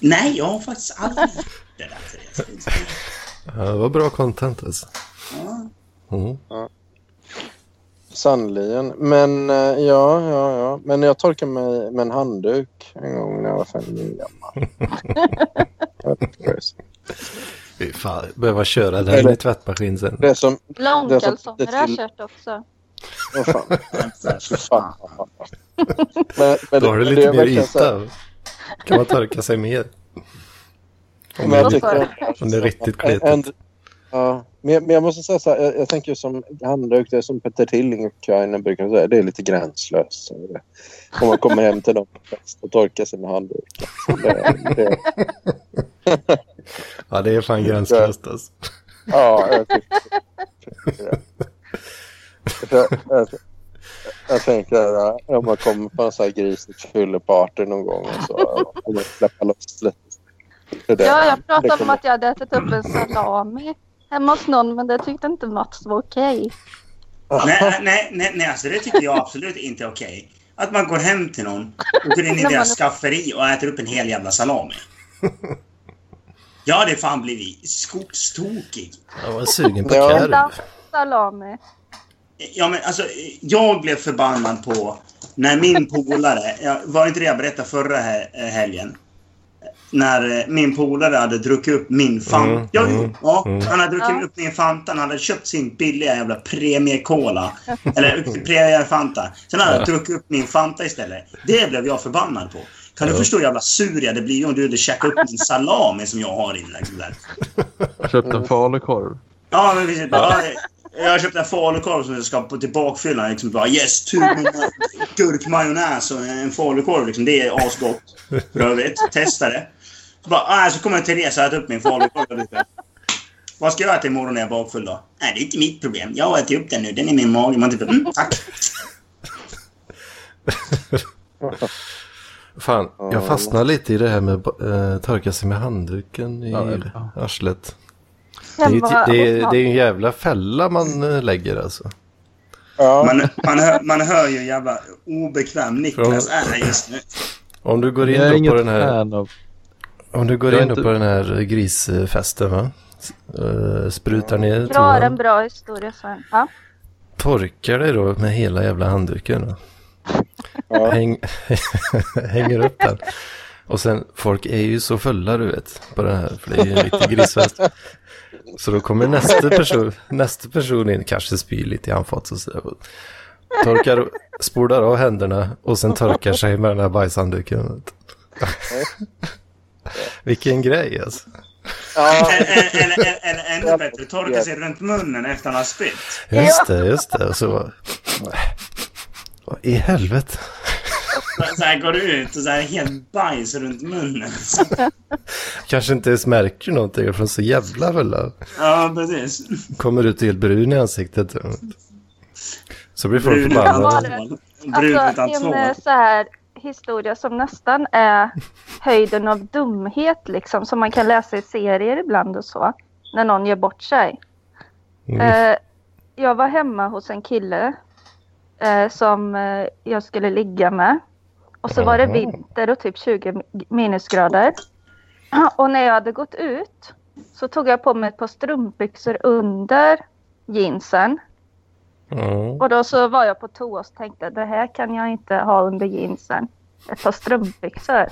D: nej jag har faktiskt aldrig gjort det där Therese.
B: Ja, det var bra content alltså.
D: Ja.
B: Mm.
H: Sannoliken. Men eh, ja, ja, ja. Men jag torkade mig med en handduk en gång när jag var fem år gammal.
B: Fy fan, behöva köra den i tvättmaskin sen.
H: det som...
C: Långkalsonger har jag
H: till-
C: kört också.
H: Åh fan.
D: Så fan.
H: Men, men
B: Då har du
H: men
B: lite
H: är
B: mer
H: verkligen så här-
B: yta. Kan man torka sig mer? Om
H: Men jag
B: det-
H: tycker-
B: om det är riktigt kletigt.
H: En- en- Ja, men, jag- men jag måste säga så här, jag, jag tänker som handduk, det är som Peter Tilling och Kainen brukar säga, det är lite gränslöst. så är det. Om man kommer hem till dem och torkar sig med handdukar. Så det- det-
B: Ja, det är fan gränslöst alltså.
H: Ja, jag tycker det. Jag, jag, jag tänker att om man kommer på en sån här grisigt fylleparty någon gång och så får man släppa loss lite. Det där-
C: Ja, jag
H: det
C: pratade om
H: kommer-
C: att jag hade ätit upp en salami hemma hos någon men det tyckte inte Mats var okej.
D: Nej, nej, nej, nej alltså det tycker jag absolut inte är okej. Att man går hem till någon och går in i
C: Nej,
D: deras
C: men-
D: skafferi och äter upp en hel jävla salami. Jag hade fan blivit skogstokig.
B: Jag var sugen på
H: Ja.
B: korv.
C: Dans salami.
D: Ja, men alltså, jag blev förbannad på när min polare, jag var inte det jag berättade förra he- helgen? När eh, min polare hade druckit upp min Fanta.
B: Mm,
D: ja, jo,
B: mm,
D: ja,
B: mm.
D: han hade druckit
C: Ja.
D: upp min Fanta. Han hade köpt sin billiga jävla premiekola. eller Premier Fanta. Sen hade han druckit upp min Fanta istället. Det blev jag förbannad på. Kan du förstå hur jävla sur jag det blir om du hade käkat upp min salami som jag har inlagd där?
F: Köpt
D: Mm.
F: en falukorv.
D: Ja, men precis. Bara, jag har köpt en falukorv som jag ska på till bakfyllan. Liksom bara yes, tuben gurkmajonnäs och en falukorv. Liksom. Det är asgott. För övrigt, testa det. Så bara, ah, så kommer Therese och äter upp min falukorv lite. Vad ska jag äta imorgon när jag är bakfull då? Nej, det är inte mitt problem. Jag har ätit upp den nu. Den är i min mage. Man typ, mm, tack.
B: Fan, jag fastnar lite i det här med eh, torka sig med handduken i
F: Ja, ja.
B: arslet. Det är, ju
C: Hemma
B: ett- det,
C: hos
B: är,
C: någon.
B: det är en jävla fälla man eh, lägger alltså.
H: Ja.
D: Man, man, hör, man hör ju hur jävla obekväm Niklas är just nu.
B: Om du går in
F: Jag är
B: då på
F: inget
B: den här...
F: fan av...
B: Om du går
F: Jag
B: in
F: är
B: då
F: inte-
B: på den här grisfesten va? S- eh, Sprutar ner
C: Dra en
B: toan.
C: bra historia sen. Ja.
B: Torkar dig då med hela jävla handduken. Va?
H: Ja.
B: Häng, hänger upp den. Och sen, folk är ju så fulla du vet. På den här, för det är ju en riktig grisfest. Så då kommer nästa person, nästa person in, kanske spyr lite i anfat och sådär. Och Torkar, spolar av händerna och sen torkar sig med den här bajshandduken. vet du. Vilken grej alltså.
H: Ja.
D: Eller, eller, eller, eller ännu bättre, torka sig runt munnen efter han har spytt.
B: Just det, just det. Och så bara... Vad i helvete?
D: Så här går du ut och så här helt bajs runt munnen.
B: Kanske inte ens märker någonting från så jävla fulla.
D: Ja, precis.
B: Kommer ut helt brun i ansiktet. Så blir folk
D: Brun utan
C: Vad var
B: förbannade.
C: det?
D: tvål. Brun
C: Alltså
D: utan
C: en eh,
D: tvål.
C: så här historia som nästan är höjden av dumhet liksom som man kan läsa i serier ibland och så. När någon gör bort sig.
B: Mm.
C: Eh, jag var hemma hos en kille eh, som eh, jag skulle ligga med. Och så var det
B: Mhm.
C: vinter och typ 20 minusgrader. Och när jag hade gått ut så tog jag på mig ett par strumpbyxor under jeansen.
B: Mm.
C: Och då så var jag på toa och tänkte det här kan jag inte ha under jeansen. Ett par strumpbyxor.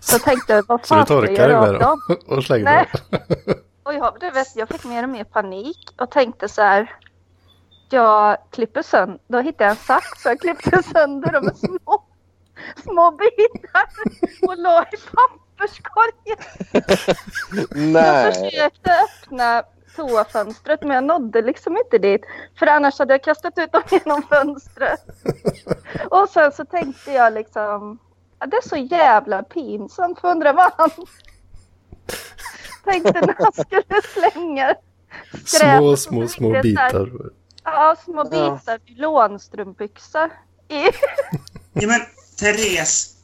C: Så tänkte jag vad
B: Så du
C: fan ska jag
B: torkar dig
C: göra
B: med
C: av dem?
B: dem och slänger dem.
C: Nej. Och jag, du vet, jag fick mer och mer panik och tänkte så här. Jag klipper sönder, då hittade jag en sax så jag klippte sönder dem i små, små bitar och la i papperskorgen. Jag
H: Nej.
C: försökte öppna toafönstret men jag nådde liksom inte dit. För annars hade jag kastat ut dem genom fönstret. Och sen så tänkte jag liksom, "Ja, det är så jävla pinsamt för undrar vad han tänkte när han skulle slänga. skräp.
B: Små, små, små
C: Det är så här-
B: bitar.
C: Ja, små bitar nylonstrumpbyxor. I-
D: Ja, men Therese.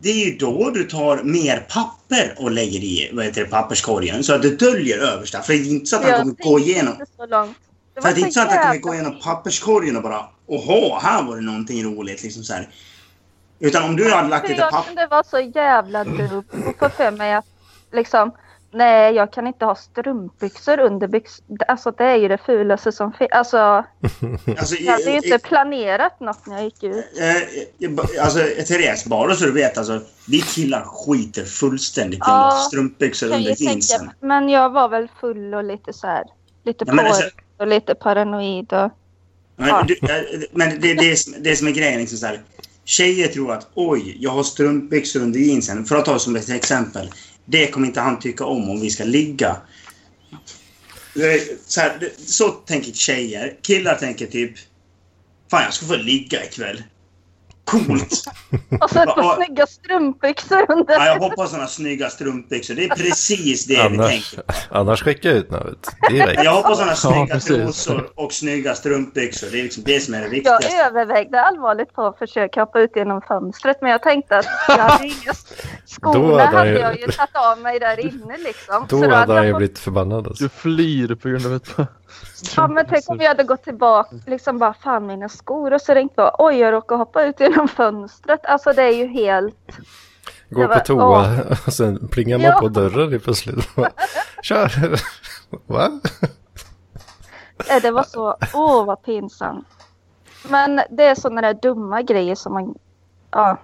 D: Det är ju då du tar mer papper och lägger i vad heter det, papperskorgen så att du döljer översta. För det är inte så att han
C: Jag
D: kommer
C: tänkte
D: gå igenom.
C: inte så långt. Det
D: För det är inte så att han kommer
C: jävla
D: gå igenom
C: pinsamt.
D: papperskorgen och bara åhå, här var det någonting roligt. Liksom så här. Utan om du hade lagt
C: För
D: lite
C: Alltså, jag
D: papper...
C: kunde vara så jävla dum och få för mig att liksom Nej, jag kan inte ha strumpbyxor under byxor. Alltså det är ju det fulaste som finns. Alltså,
D: Alltså,
C: jag hade ju
D: i- i-
C: inte planerat något när jag gick ut.
D: Eh, eh, alltså, Therese, bara så du vet, alltså, vi killar skiter fullständigt i
C: Ja,
D: strumpbyxor
C: Kan
D: under
C: jag
D: jeansen.
C: tänka, men jag var väl full och lite så här, lite
D: Ja, men
C: porrig
D: alltså-
C: och lite paranoid. Och,
D: Men, du, eh, men det, det, är som- det som är grejen är liksom så här. Tjejer tror att oj, jag har strumpbyxor under jeansen. För att ta som ett exempel. Det kommer inte han tycka om om vi ska ligga. Det är Så, här, det- så tänker tjejer. Killar tänker typ Fan, jag ska få ligga ikväll. Coolt!
C: och så ett
D: Ja.
C: par snygga strumpbyxor under.
D: Ja, jag hoppas såna snygga strumpbyxor. Det är precis det vi
B: Annars,
D: tänker.
B: annars skickar jag ut navet direkt.
D: Jag hoppas såna snygga
F: precis.
D: trosor och snygga strumpbyxor. Det är liksom det som är det viktigaste.
C: Jag övervägde allvarligt på att försöka hoppa ut genom fönstret men jag tänkte att jag hade inga
B: Då
C: skorna
B: hade han
C: hade
B: ju-
C: jag ju tagit av mig där inne liksom.
B: Då
C: Så
B: hade han ju
C: fått-
B: blivit förbannad alltså.
F: Du flyr på grund av ett par
C: Ja men tänk
F: Alltså,
C: om jag hade gått tillbaka liksom bara fan mina skor och så ringt bara oj jag råkade hoppa ut genom fönstret. Alltså det är ju helt
B: Gå
C: Jag
B: på
C: bara,
B: toa och sen plingar man
C: Ja.
B: på dörren i plötsligt. Kör! Va?
C: eh, det var så åh vad pinsamt. Men det är sådana där dumma grejer som man ja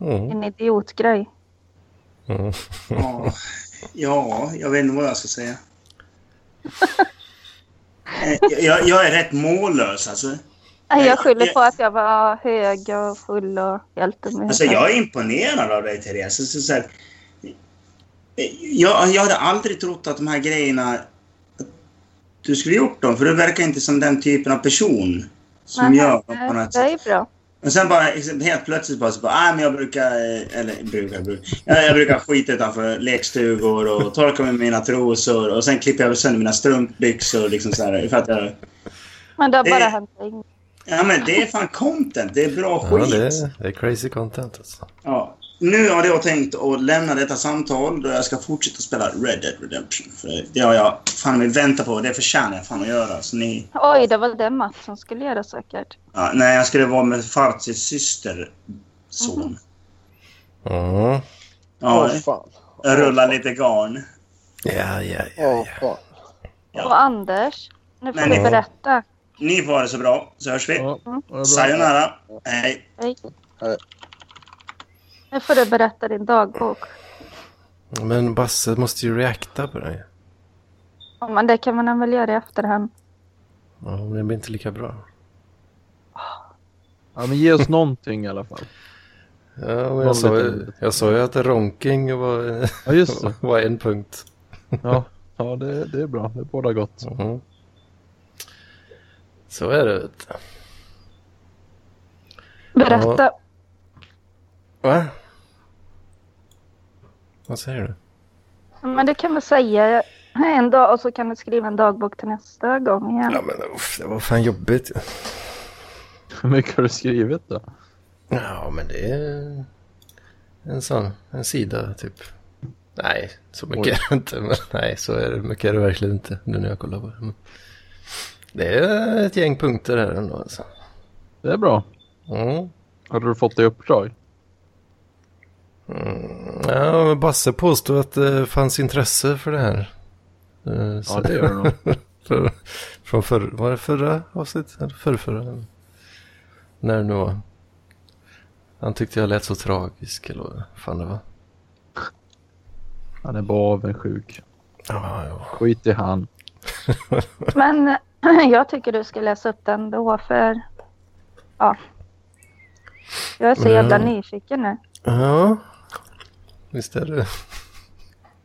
B: Mm.
C: en idiotgrej.
B: Mm.
D: Ja, ja, jag vet inte vad jag ska säga. Eh, Jag, jag är rätt mållös alltså.
C: Nej, Jag
D: Ja.
C: skyller på att jag var hög och full och helt dum i
D: alltså.
C: huvudet.
D: Jag är imponerad av dig Therese. Så, så, här, Eh, jag, jag hade aldrig trott att de här grejerna... att Du skulle gjort dem, för du verkar inte som den typen av person som
C: Nej,
D: gör dem
C: nej,
D: på något
C: eh, Det
D: sätt.
C: är ju bra.
D: Men sen bara liksom, helt plötsligt bara så bara, ah, men jag brukar, eh, eller brukar, brukar jag, jag brukar skita utanför lekstugor och torka med mina trosor och sen klipper jag sönder mina strumpbyxor liksom så här, för att jag,
C: Men det har
D: Det-
C: bara hänt en
D: Ja men det är fan content, det är bra
B: Ja,
D: skit.
B: det är, det är crazy content alltså.
D: Ja. Nu har jag tänkt att lämna detta samtal då jag ska fortsätta spela Red Dead Redemption. För det har jag fan mig väntat på, det förtjänar jag fan att göra. Så ni,
C: Oj, det var det Mats som skulle göra säkert.
D: ja, när jag skulle vara med Farzis syster son.
B: Mm.
I: Åh,
D: Ja,
I: fan.
D: rulla lite garn.
B: Ja, ja,
I: Åh,
B: ja.
I: fan.
D: Ja.
C: Och Anders, nu får
D: Men-
C: du berätta.
D: Ni får ha det så bra, så hörs vi.
F: Ja, ja, bra.
D: Sayonara. Hej.
C: Nu får du berätta din dagbok.
B: ja. Men Basse måste ju reacta på den.
C: Ja, Men det kan man väl göra i efterhand.
B: Ja, men det blir inte lika bra.
F: Ja, men ge oss någonting i alla fall.
B: Ja, men jag, sa ju, jag sa ju att ronking var,
F: Ja, just det.
B: var en punkt.
F: Ja, ja det, det är bra. Det bådar gott.
B: Mhm. Så är det. vet du.
C: Berätta.
B: Va? Vad säger du?
C: Men det kan man säga en dag och så kan du skriva en dagbok till nästa gång igen.
B: Ja, men uff, det var fan jobbigt.
F: Hur mycket har du skrivit då?
B: Ja, men det är en sån, en sida typ. Nej, så mycket är det inte. Men, nej, så är det, mycket är det verkligen inte nu när jag kollar på det. Men det är ett gäng punkter här ändå alltså.
F: Det är bra.
B: Mm.
F: Hade du fått det i uppdrag?
B: Ja, men Basse påstod att det fanns intresse för det här. Eh, så-
F: Ja, det gör det nog.
B: För- Från förra, var det förra avsnittet? Eller förrförra? När det nu var. Han tyckte jag lät så tragisk eller vad fan det var.
F: Han är bara avundsjuk.
B: Ja, ja.
F: Skit i han.
C: Men jag tycker du ska läsa upp den då för... Ja. Jag är så jävla
B: Mm.
C: nyfiken nu.
B: Ja, visst är det.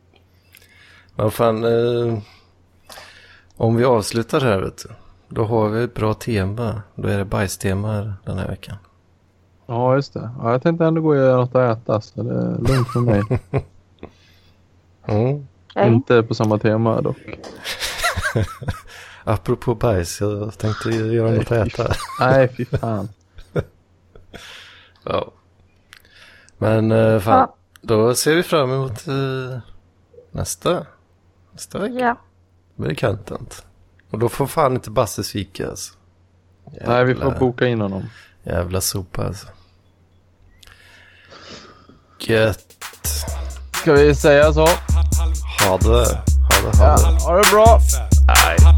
B: Men fan, eh, om vi avslutar här vet du. Då har vi ett bra tema. Då är det bajstema här den här veckan.
F: Ja, just det. Ja, jag tänkte ändå gå och göra något att äta, så det är lugnt för mig.
B: Mm.
C: Okej?
F: Inte på samma tema dock.
B: Apropå bajs, jag tänkte göra något att äta.
F: Nej, fy fan.
B: Ja. Men eh, fan,
C: Ja.
B: då ser vi fram emot eh, nästa. Nästa vecka
C: Ja.
B: blir det content. Och då får fan inte Basse svika alltså. Jävla,
F: Nej, vi får boka in honom.
B: Jävla sopa alltså. Gött.
F: Ska vi säga så?
B: Ha det. Ha det, ha
F: Ja,
B: det.
F: ha det bra!
B: Nej.